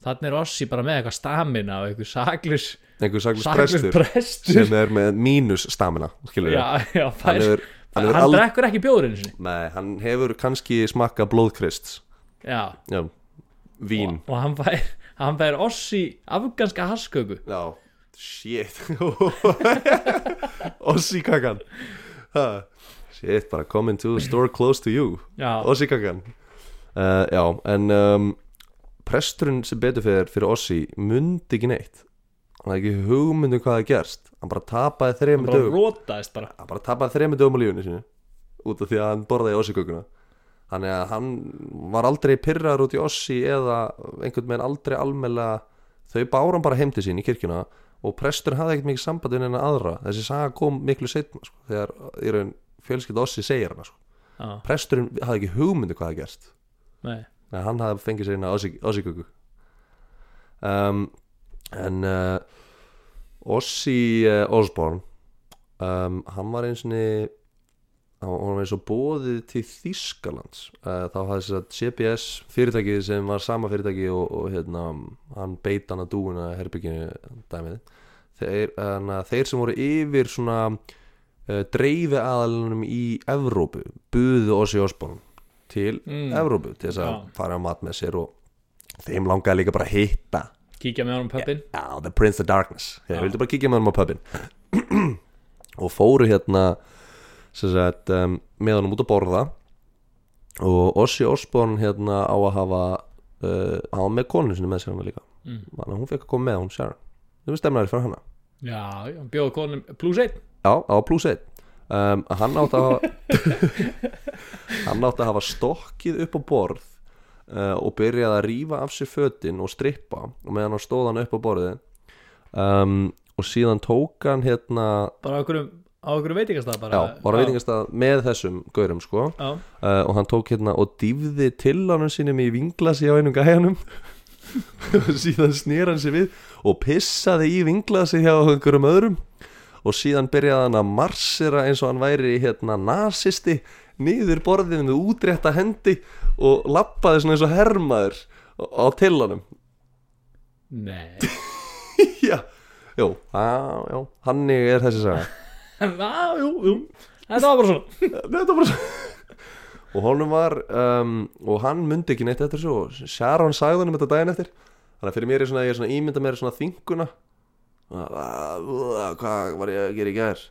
þannig er Ossi bara með eitthvað stamina og eitthvað saklus einhver saklus saklus prestur prestur, sem er með mínus stamina skilur já, já, hann fær, hefur, hann hann, hefur aldrei drekkur ekki bjórin sinni, Nei, hann hefur kannski smakka blóðkrist já, Já, vín og hann fær hann fær Ossi afganska hasköku Já, shit *laughs* Ossi kakan ha. Shit, bara coming to the store close to you já, Ossi kakan uh, Já, en um, presturinn sem betur fyrir, fyrir Ossi mundi ekki neitt Hann hafði ekki hugmyndu hvað það gerst Hann bara tapaði hann þremur bara dögum rótaðist bara Hann bara tapaði þremur dögum á lífunni sinu Út af því að hann borðaði Ossi kökuna Þannig að hann var aldrei pyrrar út í Ossi eða einhvern veginn aldrei almela þau báran bara heim til sín í kirkjuna og prestur hafði ekkert mikið sambandi en aðra þessi saga kom miklu setna sko, þegar í raun fjölskylda Ossi segir hana sko. já, presturinn hafði ekki hugmyndu hvað það gerst nei, Nei, hann hafði fengið sér inn að Ossiköku um, En uh, Ossi uh, Osborn um, Hann var eins og hann var eins og bóðið til Þýskalands uh, Þá hafði þess að CBS fyrirtækið sem var sama fyrirtæki og, og hérna, hann beit hann að dúuna herbygginu dæmið þeir, hana, þeir sem voru yfir svona uh, dreifi aðalunum í Evrópu buðu Ossi Osborn til Mm. Evrópu til þess að Já. fara á mat með sér og þeim langaði líka bara að hitta kíkja með honum pöppin Já, The Prince of Darkness Þeir vildu bara kíkja með honum á pubin *clears throat* og fóru hérna sem sagt, um, með honum út að borða og Ossi Osborn hérna á að hafa uh, hafa með konu sinni með sér hann líka Mm. þannig að hún fekk að koma með hún Sharon þau stemnaði fyrir hana Já, já, hann bjóði konum plus 1 Já, á plus 1 um, Hann átti að hafa Hann átti að hafa stokkið upp á borð uh, og byrjaði að rífa af sér fötin og strippa og meðan hann stóð hann upp á borði um, og síðan tók hann hérna bara á okkurum, á okkurum veitingastað bara já, var að veitingast að með þessum gaurum sko Já, uh, og hann tók hérna og dýfði til honum sínum í vinglasi á einum gæjanum *laughs* og síðan snýr hann sér við og pissaði í vinglasi hjá einhverjum öðrum og síðan byrjaði hann að marsera eins og hann væri hérna nazisti niður borðið með útrétta hendi og lappaði svona eins og hermaður á tillanum *laughs* nei já, já, já, hannig er þessi saga *laughs* Já, jú, jú Þetta var bara svona *laughs* þetta bara og honum var um, og hann myndi ekki neitt eftir þessu og Sharon sagði honum þetta daginn eftir þannig að fyrir mér er svona, ég er svona ímynda mér svona þinguna hvað var ég að gera í gær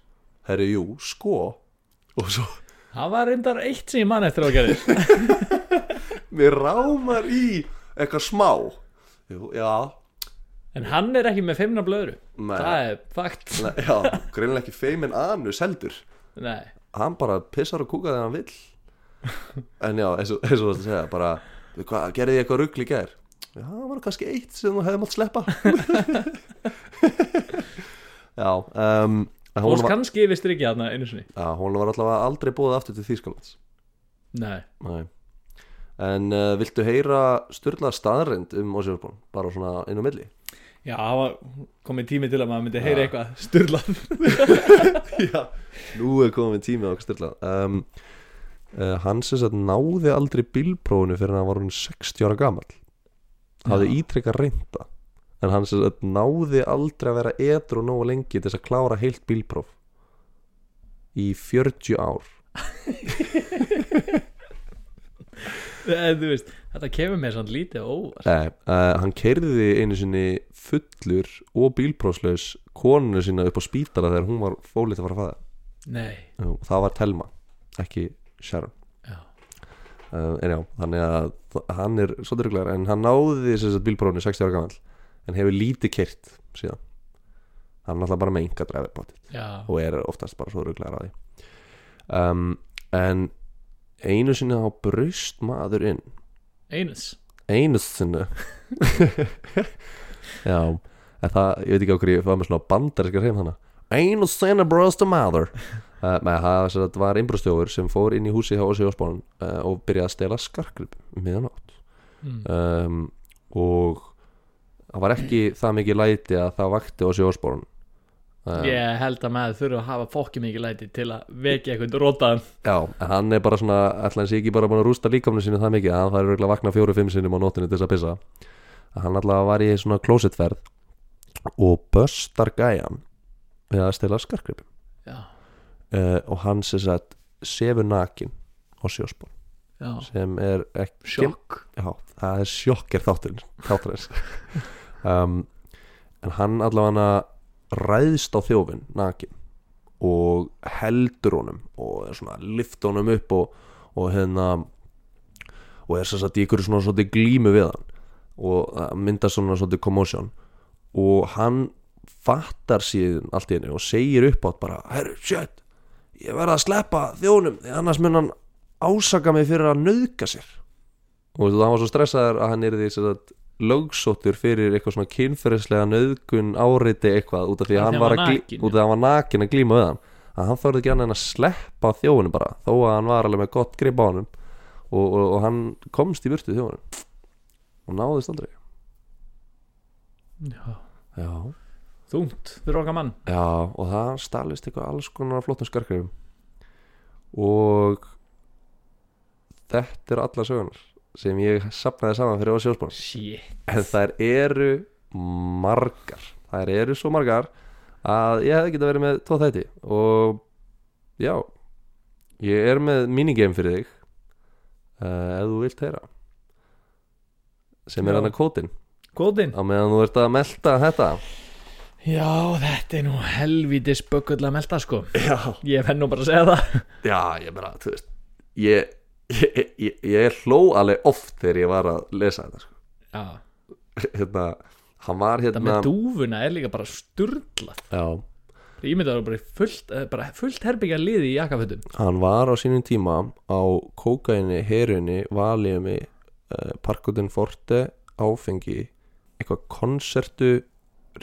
herri, jú, sko og svo, Það var reyndar eitt sem ég mann eftir að gera mér rámar í eitthvað smá jú, já, En hann er ekki með feimna blöðru Nei. Það er fakt ne, já greinlega ekki feimin anus heldur Nei, hann bara pissar og kúkar þegar hann vill en já, eins og eins og þú varst að segja bara, hvað, gerði ég eitthvað rugl í gær? Já, það var kannski eitt sem þú hefði mátt sleppa Já um, en og hún, var, kannski yfir strikja þarna einu sinni já, hún var allavega aldrei búið aftur til Þýskalands Nei, Nei. En uh, viltu heyra styrla staðrind um Ósjöfbón, bara svona inn á milli? Já, það var komið tími til að maður myndi heyra eitthvað styrlað *laughs* Já, nú er komið tími á styrla um, uh, Hann sem sagt náði aldrei bílprófinu fyrir hann var hún 60 ára gamall hafði Já. ítrekka reynda en hann sem sagt náði aldrei að vera edru nógu lengi til þess að klára heilt bílpróf í 40 ár En Eh, þú veist, þetta kemur mér svona lítið og óvart Nei, uh, hann keirði einu sinni fullur og bílprófslaus konuna sína upp á spítala þegar hún var fólið að fara að fæða Nei, Jú, það var Telma, ekki Sharon já, uh, en já, þannig að þ- hann er svolítið ruglegar en hann náði þess að bílbrónu 60 ára gamall en hefur lítið kert síðan hann er náttúrulega bara með enga dræfirbátt já og er oftast bara svo ruglegar á því um, en einu sinni á braust maður inn Einus einu sinni já en það, ég veit ekki á hverju, ég var með svona bandarinskar heim þannig einu sinni braust maður uh, með það sem sagt var innbrústjófur sem fór inn í húsi hjá Ósi Ósbón uh, og byrjaði að stela skarkrip um miðanótt mm. um, og það var ekki það mikið læti að það vakti Ossi Osborn um, Ég held að maður þurfa að hafa fokki mikið læti til að vekja eitthvað rótaðan já, en hann er bara svona ætla hans ekki bara búin að rústa líkamnu sinni það mikið að hann þarf örugglega að vakna fjóru-fimm sinnum á nóttinu til þess að pissa að hann alltaf var í svona klósettferð og böstar gæjan við að stela skarkripum Já, uh, og hann sem sagt sefur nakin Ossi Osborn já, sem er ekki sjokk Já, það er sjokker þátturinn þátturins *laughs* um, en hann allavega ræðst á þjófin nakin og heldur honum og er svona lift honum upp og, og hérna og er sess að í ykkur svona svolítið glímu við hann og það myndast svona svolítið commotion og hann fattar síðan allt í henni og segir upp átt bara herru, shit, ég verð að sleppa þjónum því annars mun hann ásaka mig fyrir að nauðka sér og þú veist, hann var svo stressaður að hann er því sagt, lögsóttur fyrir eitthvað svona kynferðislega nauðgun áriti eitthvað út af því að hann var, að glí- nakinn, út af því að hann var nakin að glíma við hann að hann þorði ekki annað en að sleppa þjónum bara þó að hann var alveg með gott grip á honum og, og, og hann komst í burtu þjónum og náðist aldrei Já, Já, þungt fyrir okkar mann Já og það stalist eitthvað alls konar af flottum skarkrifum og þetta eru alla sögunar sem ég sapnaði saman fyrir á sjósbón Shit, en þær eru margar þær eru svo margar að ég hefði geta verið með tvo þætti og já ég er með minigame fyrir þig uh, ef þú vilt heyra sem er Já. hann að kótin kóðin á meðan þú ert að melta þetta Já, þetta er nú helvítis bökull að melta sko já Ég fenn nú bara að segja það Já, ég bara, þú veist Ég, ég, ég, ég hló alveg oft þegar ég var að lesa þetta sko. Já, Hérna, hann var það hérna með dúfuna er líka bara sturglað Já, Ég myndi að það var bara í fullt, eh, bara fullt herbyggja liði í jakkafötum hann var á sínum tíma á kókaini, herunni, valiumi uh, parkutin forte áfengi, eitthvað konsertu,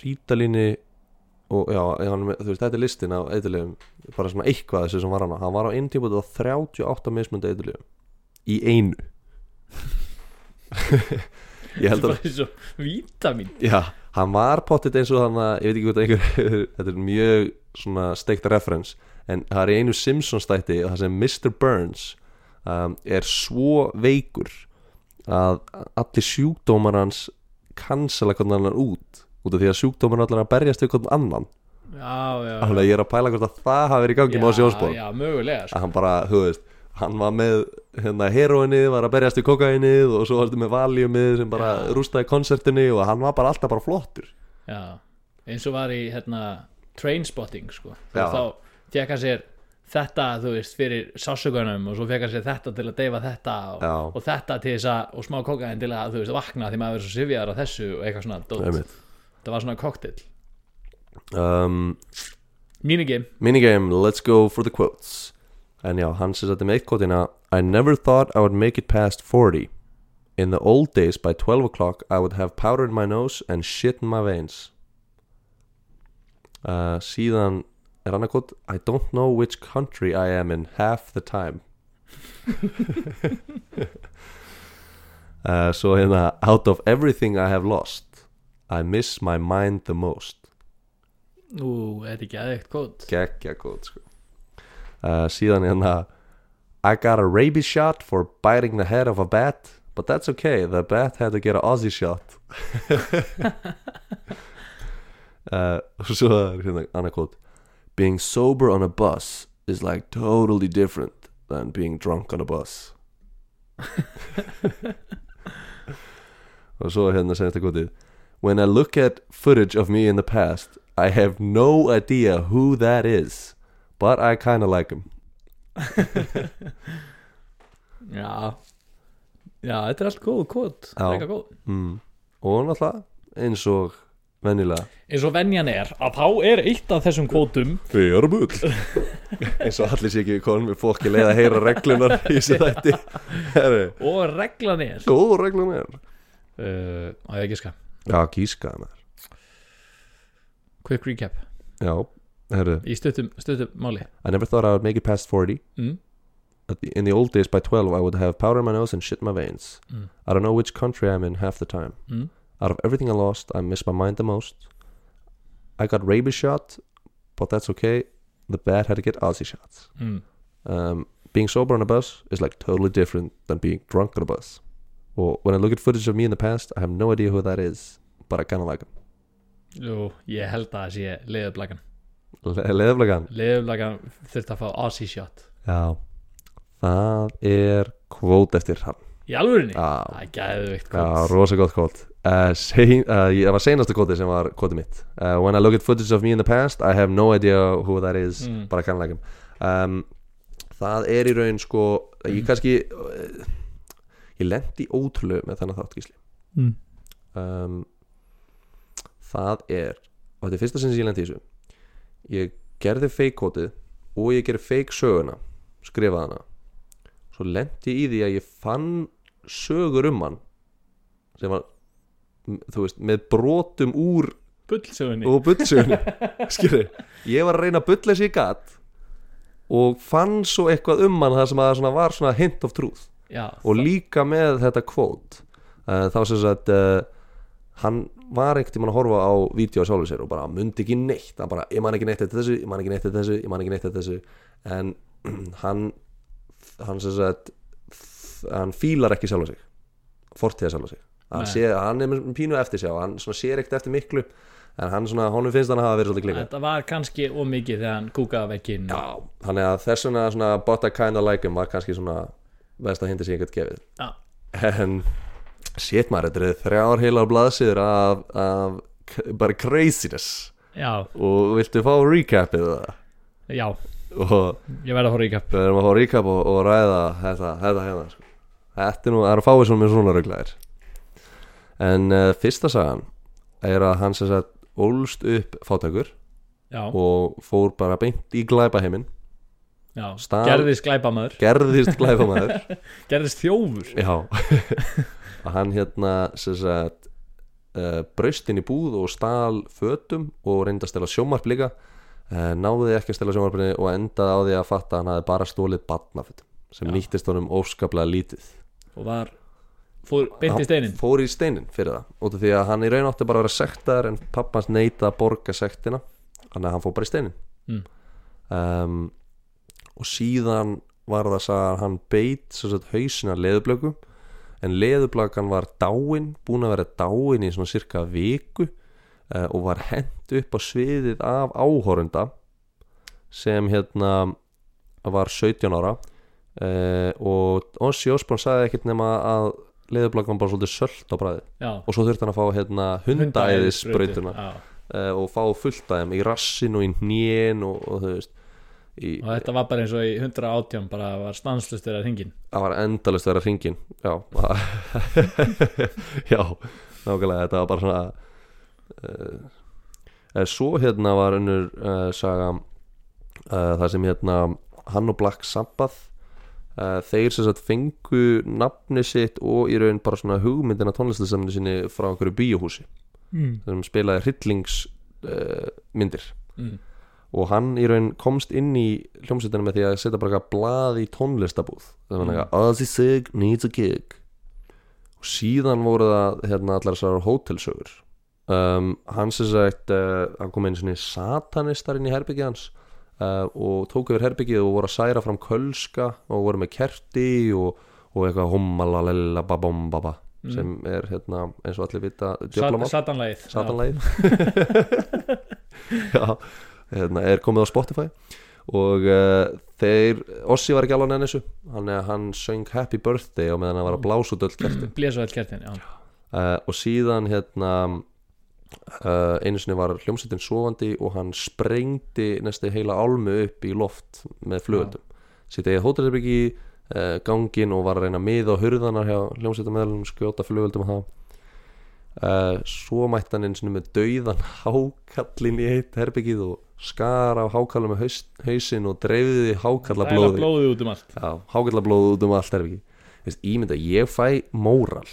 rítalinni og já, ég var með, þú veist, þetta er listin af eitthulegum, bara svona eitthvað af þessu sem var hann á. hann var á einu tíma á 38 mismundi eitthulegum, í einu *laughs* Ég held að Bara eins og vítamin Já, hann var pottit eins og hann að, ég veit ekki hvort einhver *laughs* þetta er mjög svona steikt reference en það er í einu Simpsons stætti það sem Mr. Burns um, er svo veikur að allir sjúkdómar hans cancela hvernig hann er út út af því að sjúkdómar allir að berjast við hvernig annan Já, já, já þannig að ég er að pæla hvort að það hafi verið í gangi með á sjósból Já, mögulega sko. að hann bara, þú veist hann var með hérna heroinnið, var að berjast við kokainnið og svo varstu með valjumið sem bara rústaði konsertinni og hann var bara alltaf bara flottur Já, eins og var í hérna Trainspotting sko Já. og Þá fekk hann sér þetta, þú veist, fyrir sásökunum og svo fekk hann sér þetta til að deyfa þetta og, Já. og þetta til þess að, og smá kokaðin til að, þú veist, vakna því maður verið svo sifjaðar á þessu og eitthvað svona dót. Einmitt. Það var svona koktill um, Mínigame, Minigame, let's go for the quotes En já, hann sér þetta með eitt kvotina I never thought I would make it past 40 In the old days by 12 o'clock I would have powder in my nose and shit in my veins uh, Síðan er annað kvot I don't know which country I am in half the time *laughs* uh, Svo hérna Out of everything I have lost I miss my mind the most Ú, er ekki aðeitt kót geggja góð sko. uh, síðan hérna I got a rabies shot for biting the head of a bat but that's okay, the bat had to get an Aussie shot *laughs* uh, og svo er hérna annað kvot being sober on a bus is like totally different than being drunk on a bus og svo er hérna senasta kvotið When I look at footage of me in the past, I have no idea who that is, but I kinda like him. Já Já, þetta er allt góð kót Já. Frekar góð Mm. Og náttúrulega eins og venjulega. eins og venjan er að þá er eitt af þessum kvótum Þið eru bull. *laughs* eins og allir sé ekki konum við fólki leið að heyra reglunar í þessu þætti. Herri, og reglan er góð reglun er. uh, á ég ekki ská, Já, gískaði maður. quick recap Já, herri. í stuttum, stuttum máli I never thought I would make it past 40. mm. At the, in the old days by 12 I would have powder in my nose and shit in my veins. Mm. I don't know which country I'm in half the time. Mm. Out of everything I lost, I miss my mind the most. I got rabies shot, but that's okay. The bad had to get Aussie shots. Mm. Um, being sober on a bus is like totally different than being drunk on a bus. Or when I look at footage of me in the past, I have no idea who that is, but I kind of like him. Jú, ég held að það sé leðublagan Le- Leðurlegan. leðublagan þurft að fá Aussie shot Já. Það er kvót eftir hann. í alvörinni, Já. það er gæðuvikt Já, kvót rosa gott kvót uh, sein, uh, ég- Það var seinasta kvóti sem var kvóti mitt uh, When I look at footage of me in the past I have no idea who that is Mm. Bara kannleikum um, Það er í raun sko Mm. Ég kannski uh, Ég lendi ótrúlu með þennan þátt gísli mm. um, Það er Og þetta er fyrsta sinn sem ég lendi í þessu Ég gerði fake kvótið Og ég gerði fake söguna Skrifaði hana Svo lendi ég í því að ég fann sögur um hann sem var m- þú veist, með brotum úr bullsögunni og bullsögunni skilur, ég var að reyna að bulla sér gatt og fann svo eitthvað um hann það sem að svona var svona hint of truth já, og líka með þetta kvót uh, þá sem sagt uh, hann var ekkert tímann að horfa á vídeo sjálfur sér og bara mundi ekki neitt hann bara, ég man ekki neitt eftir þessu, ég man ekki neitt eftir þessu ég man ekki neitt eftir þessu en *clears throat* hann hann sem sagt hann fílar ekki sjálfur sig fortíða sjálfur sig hann, Nei. sé, hann er með pínu eftir sér hann svona sér ekkert eftir miklu en hann svona, honum finnst hann að hafa verið svolítið klikað þetta var kannski ómikið þegar hann kúkaði vekkin já, þannig að þess vegna svona but I kinda like him var kannski svona best að hindi sig eitthvað gefið já, en shit maður, þetta eru þrjár heilar blaðsýður af, af k- bara craziness já, og viltu fá recapið það já, og ég verð að horfa í kapp við erum að fá recap og, og ræða þetta, þetta hérna sko. þetta er nú, það eru fáið svona með svona ruglaðir en uh, fyrsta sagan er að hann sem sagt ólst upp fátökur já, og fór bara beint í glæpaheiminn já, Stal- gerðist glæpamaður gerðist glæpamaður gerðist þjófur Já og hann hérna sem sagt uh, braust inn í búð og stal fötum og reyndi að stela sjómarp líka uh, náði ekki að stela sjómarpinni og endaði á því að fatta að hann hafi bara stólið barnafötum sem Já. nýttist honum óskaplega lítið og var, fór beint í steinin Hann fór í steinin fyrir það út af því að hann í raun átti bara að vera sektar en pappans neita að borga sektina þannig að hann fór bara í steinin Mm. um, og síðan var það að hann beit sem sagt, hausina leðublöku en leðublökan var dáin búin að vera dáin í svona cirka viku uh, og var hent upp á sviðið af áhorunda sem hérna var 17 ára uh, og Ossi Osborn sagði ekkert nema að leðublökan var bara svolítið söllt á bræði já, og svo þurfti hann að fá hérna hundaæðisbrautuna já uh, og fá fullt af þeim í rassin og í hnén og, og þú veist í, og þetta var bara eins og í 118 bara var stanslustur að hringin það var endalust að vera hringin já *laughs* já, nákvæmlega þetta var bara svona uh, eh, svo hérna var önnur uh, saga uh, það sem hérna hann og Black Sabbath uh, þeir sem sagt fengu nafni sitt og í raun bara svona hugmyndina tónlistasamni sinni frá einhverju bíóhúsi mm. sem spilaði hryllingsmyndir uh, myndir. Mm. og hann í raun komst inn í hljómsveitina með því að setja bara eitthvað blað í tónlistabúð það var Mm. eitthvað Ozzy Sig needs a gig og síðan voru það hérna allar þessar hótelsögur um, hann sem sagt uh, hann kom einu sinni satanistar inn í herbyggið hans uh, og tók yfir herbyggið og voru að særa fram kölska og voru með kerti og, og eitthvað hommalalellababomba Mm. sem er hérna eins og allir vita djöflamál, Satanlægið satanlægin *laughs* já, hérna er komið á Spotify og uh, þeir Ossi var ekki alveg enn þessu hann, hann söng Happy Birthday og meðan hann var að blása út öll kerti Blésu all kertin, já uh, og síðan hérna uh, einu sinni var hljómsveitin sofandi og hann sprengdi næstu heila álmu upp í loft með flugöldum sitt eigið hótelherbyggi uh, gangin og var að reyna að miða á hurðana hjá hljómsveitin meðlum skjóta flugöldum og það Uh, svo mætti hann einu sinni með dauðan hákallin í heitt herbyggið og skar á hákallum með haus, hausinn og dreifði Dæla hákallablóði blóðið út um allt Já, hákallablóð út um allt er ekki Veist, Ímynda, ég fæ móral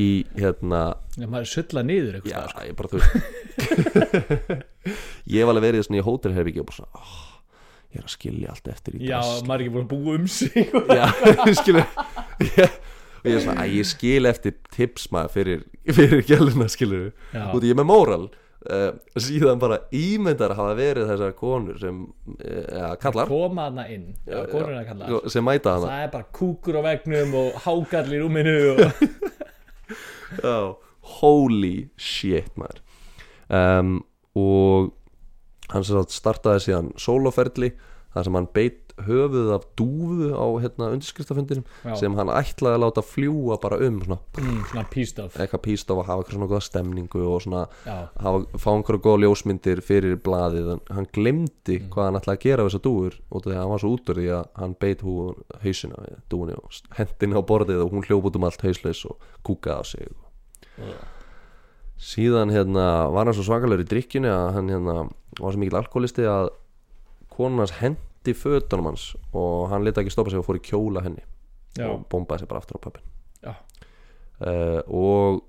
Í hérna Já, maður er sulla niður Já, eitthvað ég bara þú veist *laughs* Ég hef alveg verið svona í hótelherbyggi Og bara svona, oh, ég er að skilja allt eftir í Já, drasl." maður er ekki búin að búa um sig Já, *laughs* skilja ég, Og ég er svona, að ég skil eftir tips maður Fyrir, fyrir gæluna skilur Já. Út í ég er með móral Uh, síðan bara ímyndar hafa verið þessar konur sem uh, kallar *laughs* Koma hana inn, já, konurinn að kalla sem mæta hana Það er bara kúkur á vegnum og hákall í rúminu og... *laughs* Já, Oh, holy shit maður um, og hann sem sagt startaði síðan sóloferli þar sem hann beitt höfuð af dúfu á hérna Já. undirskriftafundinum sem hann ætlaði að láta fljúa bara um svona, mm, Svona píst af eitthvað píst á að hafa eitthvað svona góða stemningu og svona Já. hafa, fá einhverja góða ljósmyndir fyrir blaðið en hann glemdi Mm. hvað hann ætlaði að gera við þessa dúfur og því að hann var svo útur því að hann beit hú hausina við dúfunni og hendin á borðið og hún hljóp út um allt hauslaus og kúkaði á sig og síðan hérna var hann svo svakalur í drikkjunni að hann hérna var svo mikill alkoholisti að konan hans hendi fötunum hans og hann leta ekki stoppa sig og fór í kjóla henni Já, og bombaði sig bara aftur á pöppin já, uh, og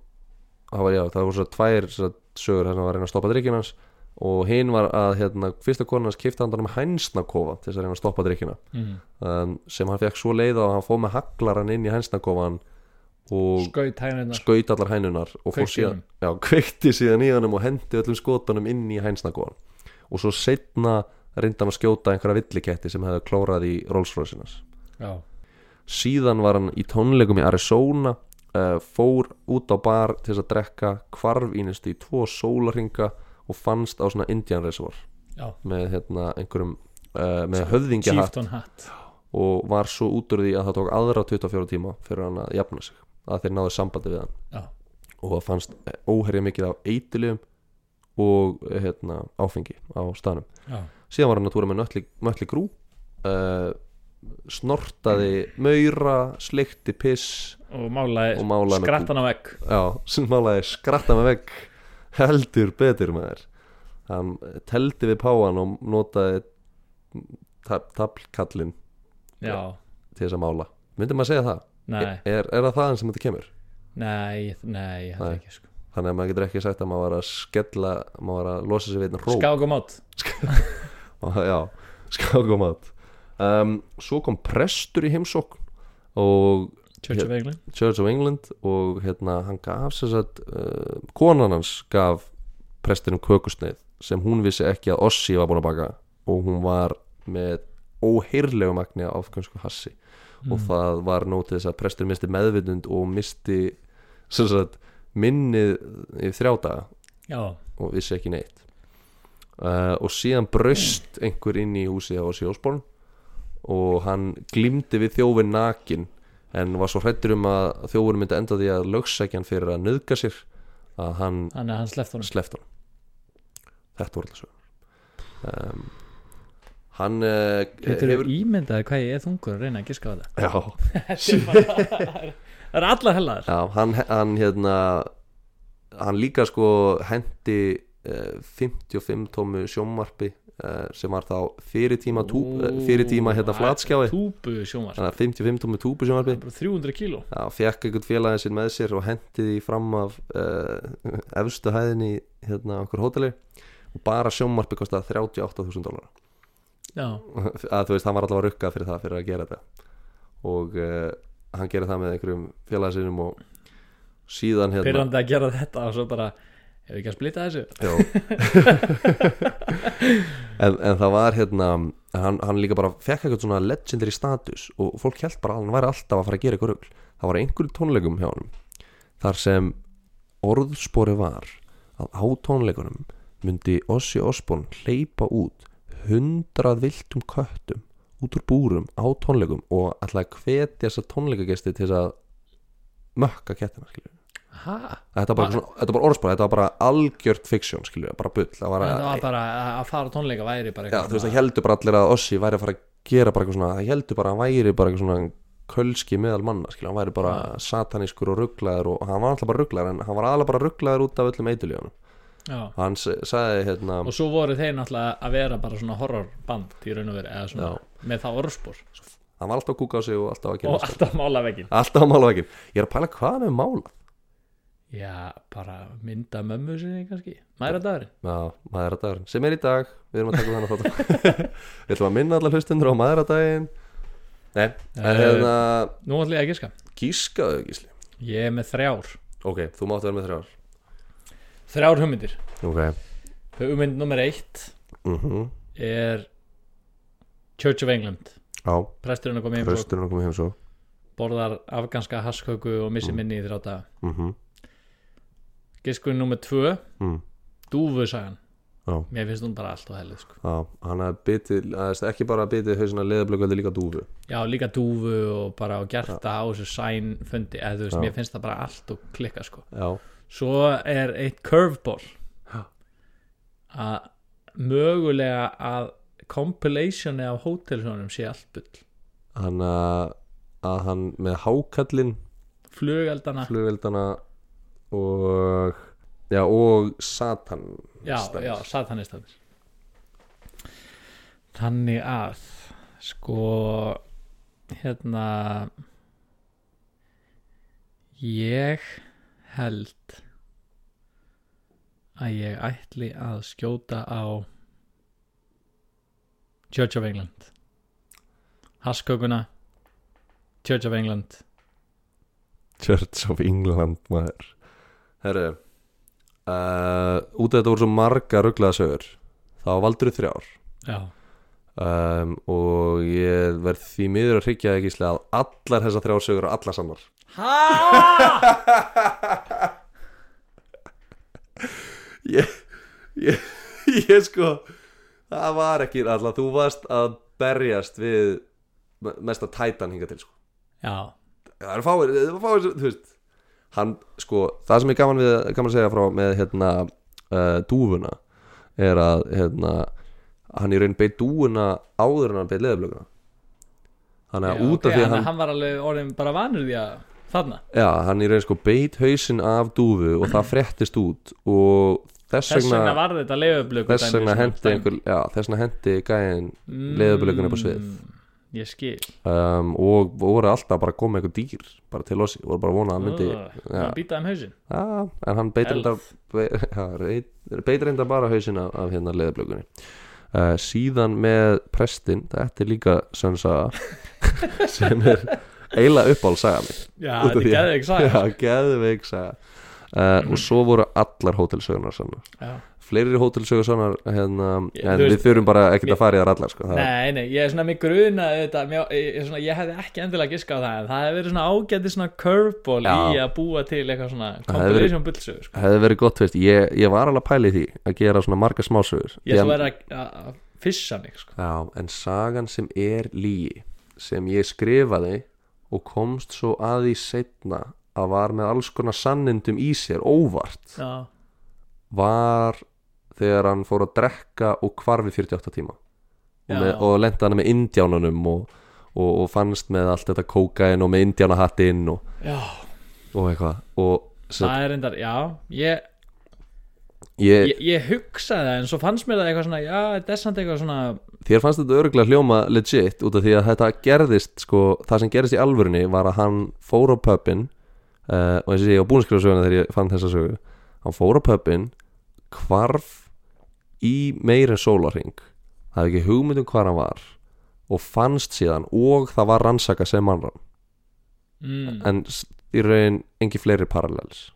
það var já, það voru svo tvær svo sögur þess að var að reyna að stoppa drikkjunni hans og hinn var að hérna fyrsta konan hans kifti hann um hænsnakofa til þess að reyna að stoppa drikkjunna mm. um, sem hann fekk svo leið á að hann fóð með haglaran inn í hænsnakofan og skaut hægnarinnar skaut allar hænunar og fór Kveikti síðan, já, kveikti síðan í honum og hendi öllum skotunum inn í hænsnagóðan og svo setna reyndi hann að skjóta einhverja villiketti sem hefði klórað í Rolls Royce-inas Já, síðan var hann í tónleikum í Arizona uh, fór út á bar til þess að drekka kvarf í næstu í tvo sólarhinga og fannst á svona Indian Reservoir já, með hérna einhverjum uh, með höfðingjahatt chieftain hat og var svo út úr því að það tók aðra 24 tíma fyrir hann að jafna sig að þeir náðu sambandi við hann Já, og það fannst eh, óherja mikið af eitilum og eh, hérna, áfengi á staðnum já, síðan var hann að túra með nötli, mötli grú uh, snortaði maura, slikti piss og málaði, Og málaði með Eh, skrattan á vegg já, *laughs* sem málaði skratta með vegg heldur betur með þér hann teldi við páan og notaði tab tablkallin Já, til þess að mála myndi maður segja það? nei, Er, er það þaðan sem þetta kemur? nei, nei, ég held Nei. ekki sko þannig að maður getur ekki sagt að maður var að skella maður var að losa sig við einn ró Skák og mát Ah, *laughs* Já, skák og mat um, Svo kom prestur í heimsókn og Church of England Church of England og hérna hann gaf sér satt uh, konan hans gaf prestinum kökusneið sem hún vissi ekki að Ossi var búin að baka og hún var með óheyrlegu magni af afgjönsku hassi og það var nóg til þess að prestur misti meðvindund og misti sem sagt minnið í þrjá daga Já, og vissi ekki neitt uh, og síðan braust einhver inn í húsið á Sjósborn og hann glimti við þjófin nakin en var svo hrættur um að þjófur myndi enda því að lögsækja hann fyrir að nöðga sér að hann hann er hann sleft honum sleppt hann þetta voru alltaf sögur um, hann uh, Þetta eru ímyndaði hvað ég er þungur að reyna að giska á þetta já, Það eru allar hellaðar Já, hann, hann hérna hann líka sko hendi uh, 55 tómu sjónvarpi uh, sem var þá fyrir tíma, túb, uh, fyrir tíma hérna flatskjái Túbu sjómar þannig að 55 tómu túpu sjónvarpi 300 kíló Já, fekk einhvern félagin sinn með sér og hendi því fram af uh, efstu hæðinni í, hérna á okkur hóteli og bara sjónvarpi kostaði 38.000 dólar Já, *laughs* að þú veist, hann var allavega rukkað fyrir það fyrir að gera þetta og uh, hann gerði það með einhverjum félagin sinnum og síðan hérna pyrrandi að gera þetta og svo bara Ef við ekki að splita þessu Já en, en það var hérna hann, hann líka bara fekk eitthvað svona legendary status og fólk held bara að hann væri alltaf að fara að gera eitthvað rugl það var einhverjum tónleikum hjá hann þar sem orðspori var að á tónleikunum myndi Ossi Osborn hleypa út hundrað viltum köttum út úr búrum á tónleikum og ætlaði að hvetja þessa tónleikagesti til þess að mökka kettina skilju Ha? Þetta var bara, svona, þetta var bara orðspara, þetta var bara algjört fiksjón, skiljum við, bara bull Það var Það að, var bara að- að fara á tónleika væri bara já, eitthvað þú veist, það heldur bara allir að Ossi væri að fara að gera bara eitthvað svona Það heldur bara að hann væri bara eitthvað svona kölski meðal manna, skiljum Hann væri bara satanískur og rugglaður og hann var alltaf bara rugglaður En hann var alveg bara rugglaður út af öllum eitulíðanum Já. Hann s- sagði, hérna, Og svo voru þeir náttúrulega að vera bara svona horrorband í raun og veri eða svona Já. með það orðspor hann var alltaf að kúka á sig og alltaf að og gera alltaf mála veginn Alltaf að mála ekki Ég er að pæla hvað hann er mála Já, bara mynda mömmu sinni kannski Mæra dagurinn Já, maðuradagurinn, sem er í dag Við erum að taka um þennan þáttum *laughs* Við ætlum að minna allar hlustundur á maðuradaginn Nei, en Eh, hérna Nú ætlum ég að giska Gískaðu, Gísli Ég er með þrjár Ok, þú mátt vera með þrjár Þrjár hugmyndir Ok Hugmynd nummer eitt mm -hmm. er Church of England Já, Presturinn að koma heim og hrausturinn er komið heim svo borðar afganska hasköku og missi minni í þráta mm -hmm. Giskurinn nummer tvö mm. Dúfusagan Já. Mér finnst hún bara allt og helið sko. Já, hann hafði bitið, aðeins ekki bara bitið hausina leðablökuði líka dúfu Já, líka dúfu og bara og gert það á þessu sæn fundi eða þú veist, Já. mér finnst það bara allt og klikka sko. Já, Svo er eitt curveball Já. að mögulega að compilationi af hótelsónum sé allt bull hann að að hann með hákallinn flugaldana, flugveldana og já, og satan já, Stans. já, satanistafir þannig að sko hérna ég held að ég ætli að skjóta á Church of England Haskökuna Church of England Church of England maður Herru uh, út af þetta voru svo marga rugglaðasögur þá valdur þrjár já, um, og ég verð því miður að hryggja ekki slega að allar þessar þrjár sögur og allar sannar *laughs* ég, ég, ég sko það var ekki allar, þú varst að berjast við me- mesta tætan hinga til sko já, það eru fáir, það eru fáir sem- þú veist hann, sko, það sem ég gaman við gaman að segja frá með hérna uh, dúfuna er að hérna, hann í raun beitt dúfuna áður en hann beitt leðablökuna þannig að Já, út af ok, því að þannig hann, var alveg orðin bara vanur því að þarna já, hann í raun sko beitt hausinn af dúfu og það frettist út og þess þess vegna vegna var þetta leiðublöku þess vegna hendi einhver, já, þess vegna hendi gæðin leðablökuna upp á svið Mm, ég skil um, og voru alltaf bara að koma eitthvað dýr bara til oss, voru bara að vona að hann myndi Ugh, hann býtaði um hausin Já, en hann beitir Elf. reyndar be- *laughs* já, reit- beitir reyndar bara hausinn af, af hérna leðablökunni uh, síðan með prestin þetta er líka sönsaga *laughs* sem er eiginlega uppálsaga mig já, Út af þetta því. gerði ekki já, sæð geðveik saga uh, og svo voru allar hótelsögunar sannar fleiri hótelsögur sannar hérna, Ég- en þú við veist- þurfum bara ekkert mér- að fara í þar allar sko, það, nei, nei, ég er svona mig gruna þetta, mjó, ég, ég svona, ég hefði ekki endilega giska á það en það hefði verið svona ágæti svona curveball Já. í að búa til eitthvað svona hefði verið- compilation bullsögu sko. hefði verið gott veist, ég, ég var alveg að pæla í því að gera svona marga smásögur ég Því ætla að- að vera að- að að fissa mig sko. Já, en sagan sem er lígi sem ég skrifaði og komst svo að því setna að var með alls konar sannindum í sér óvart já, var þegar hann fór að drekka og hvarfi 48 tíma og, Já. með, og lenda hann með indjánunum og, og, og fannst með allt þetta kókain og með indjánahattinn og, já, og eitthvað og sem, það er endar, já ég, ég, ég, ég hugsaði það en svo fannst mér það eitthvað svona já, þetta er samt eitthvað svona þér fannst þetta örgulega hljóma legit út af því að þetta gerðist sko, það sem gerðist í alvörunni var að hann fór á pöppin uh, og þessi ég var búin að skrifa söguna þegar ég fann þessa sögu hann fór á pöppin hvarf í meira en sólarring það hefði ekki hugmynd um hvar hann var og fannst síðan og það var rannsaka sem hann rann mm, en s- í raun engi fleiri parallels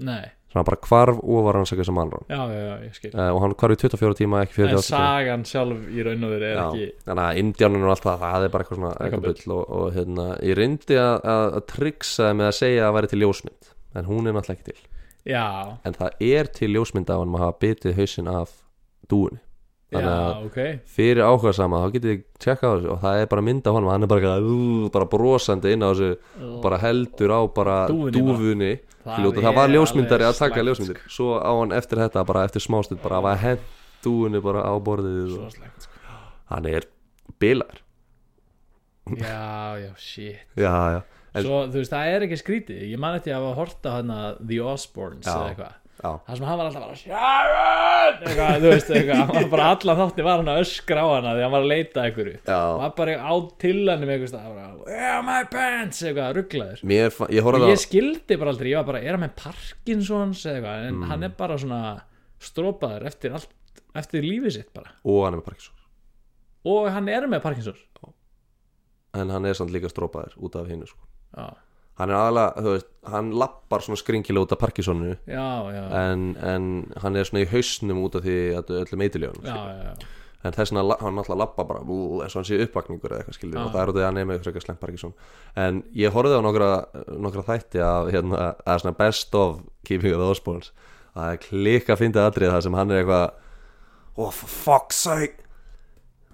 nei, sem hann bara hvarf og var rannsakað sem mannrán já, já, já, ég skil uh, og hann hvarf í 24 tíma ekki en 48 tíma sagan sjálf í raun og veru er ekki þannig að indjánunum og allt það, það er bara eitthvað svona Eitthvað eitthvað bull og, og hérna, ég reyndi að, að, að tryggsa með að segja að það væri til ljósmynd en hún er náttúrulega ekki til já, en það er til ljósmynd af hann að hafa bitið hausinn af dúunni þannig að já, ok fyrir áhuga sama þá getið þið tjekkað á þessu og það er bara mynd af honum hann er bara, eitthvað, "Ú", bara brosandi inn á þessu bara heldur á bara Dúfunni bara. dúfunni hljóta, það er var ljósmyndari alveg að taka slæmt, ljósmyndir svo á hann eftir þetta bara eftir smástund bara var hent dúfunni bara á borðið sko, og svo slæmt, sko. hann er bilar já, já, shit já, já, En- Svo, þú veist, það er ekki skrítið Ég man eftir að hafa hort á hana The Osbournes Já. eða eitthvað já, Það sem hann var alltaf bara Sharon eitthvað, þú veist, eitthvað Hann var bara allan þátti var hann að öskra á hana Því hann var að leita að einhverju já. Var bara á tillanum eitthvað stað, bara, Where are my pants, eitthvað, rugglaður Mér, fa- ég horfði á Og ég skildi bara aldrei, ég var bara Er hann með Parkinsons eða eitthvað Mm. En hann er bara svona strópaður eftir allt Eftir lífið sitt bara og hann er með Parkinson Og hann er með Parkinsons en hann er samt líka strópaður út af hinu sko. Já, hann er aðalega, þú veist, hann lappar svona skringilega út af Parkinsonu já, já, já, en, en hann er svona í hausnum út af því að öllum eitiljónum já, já. en þess vegna la- hann náttúrulega lappa bara bú, eins og hann sé uppvakningur eða eitthvað skilur Já. og það er út af því að hann er með frekar slemt Parkinson en ég horfði á nokkra, nokkra þætti af hérna, að svona best of Keeping of the Osbournes það er klikka fyndið atrið það sem hann er eitthvað oh for fuck's sake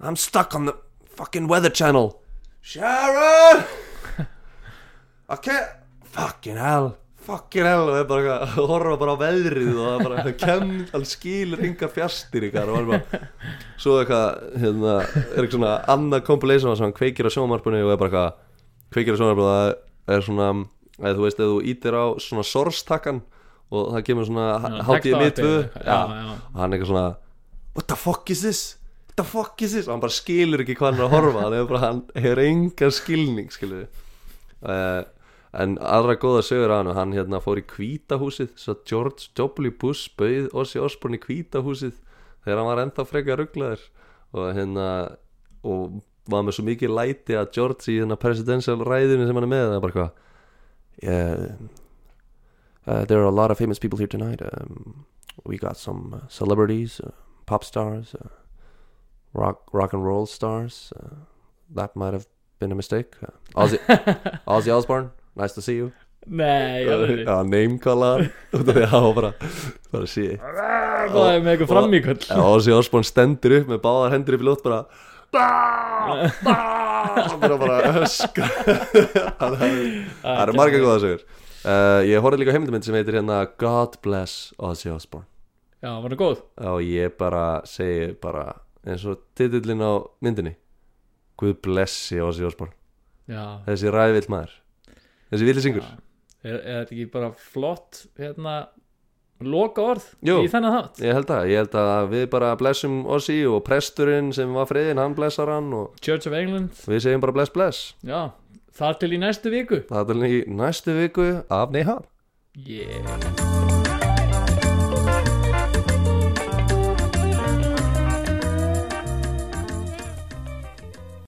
I'm stuck on the fucking weather channel Sharon I can't fucking hell fucking hell og er bara eitthvað að horfa bara á veðrið og það er bara kem, hann skilur yngar fjastir ykkar og hann bara svo eitthvað hérna, er eitthvað svona annað compilation þar sem hann kveikir á sjónvarpunni og er bara eitthvað kveikir á sjónvarpunni og það er svona eða þú veist, eða þú ítir á svona sorstakkan og það kemur svona hátíð mitt taktavarpið við eða eitthvað, já, já. og hann er eitthvað svona what the fuck is this? what the fuck is this? og hann bara skilur ekki hvað hann er að horfa hann er bara, hann hefur engan skilning skilur uh, en aðra góða sögur á hann hann hérna fór í kvítahúsið svo George W. Bush bauð Ossi Osborn í kvítahúsið þegar hann var ennþá frekar rugglaður og hérna og var með svo mikið læti að George í hérna presidential ræðinu sem hann er með það er bara hvað yeah, uh, there are a lot of famous people here tonight um, we got some uh, celebrities uh, pop stars uh, rock, rock and roll stars uh, that might have been a mistake uh, Ozzy, Ozzy Osbourne, nice to see you Nei, já, já *laughs* Já, neymkallar Út af því að það var bara Bara sí Það er með eitthvað frammíköll Já, Ozzy Osbourne stendur upp með báðar hendur upp í lót bara Bá, bá Og bara bara öskra Það er- það eru marga góða sigur uh, Ég horfði líka á heimildamönd sem heitir hérna God bless Ozzy Osbourne Já, var það góð? Og ég bara segi bara eins og titillin á myndinni Guð blessi Ozzy Osbourne Já Þessi ræðvill maður Þessi villisingur Er er þetta ekki bara flott hérna loka orð Jú. í þennan þátt? Ég held að, ég held að við bara blessum Ossi og presturinn sem var friðinn, hann blessar hann og Church of England við segjum bara bless bless. Já, þar til í næstu viku Það er til í næstu viku af Neyha. Yeah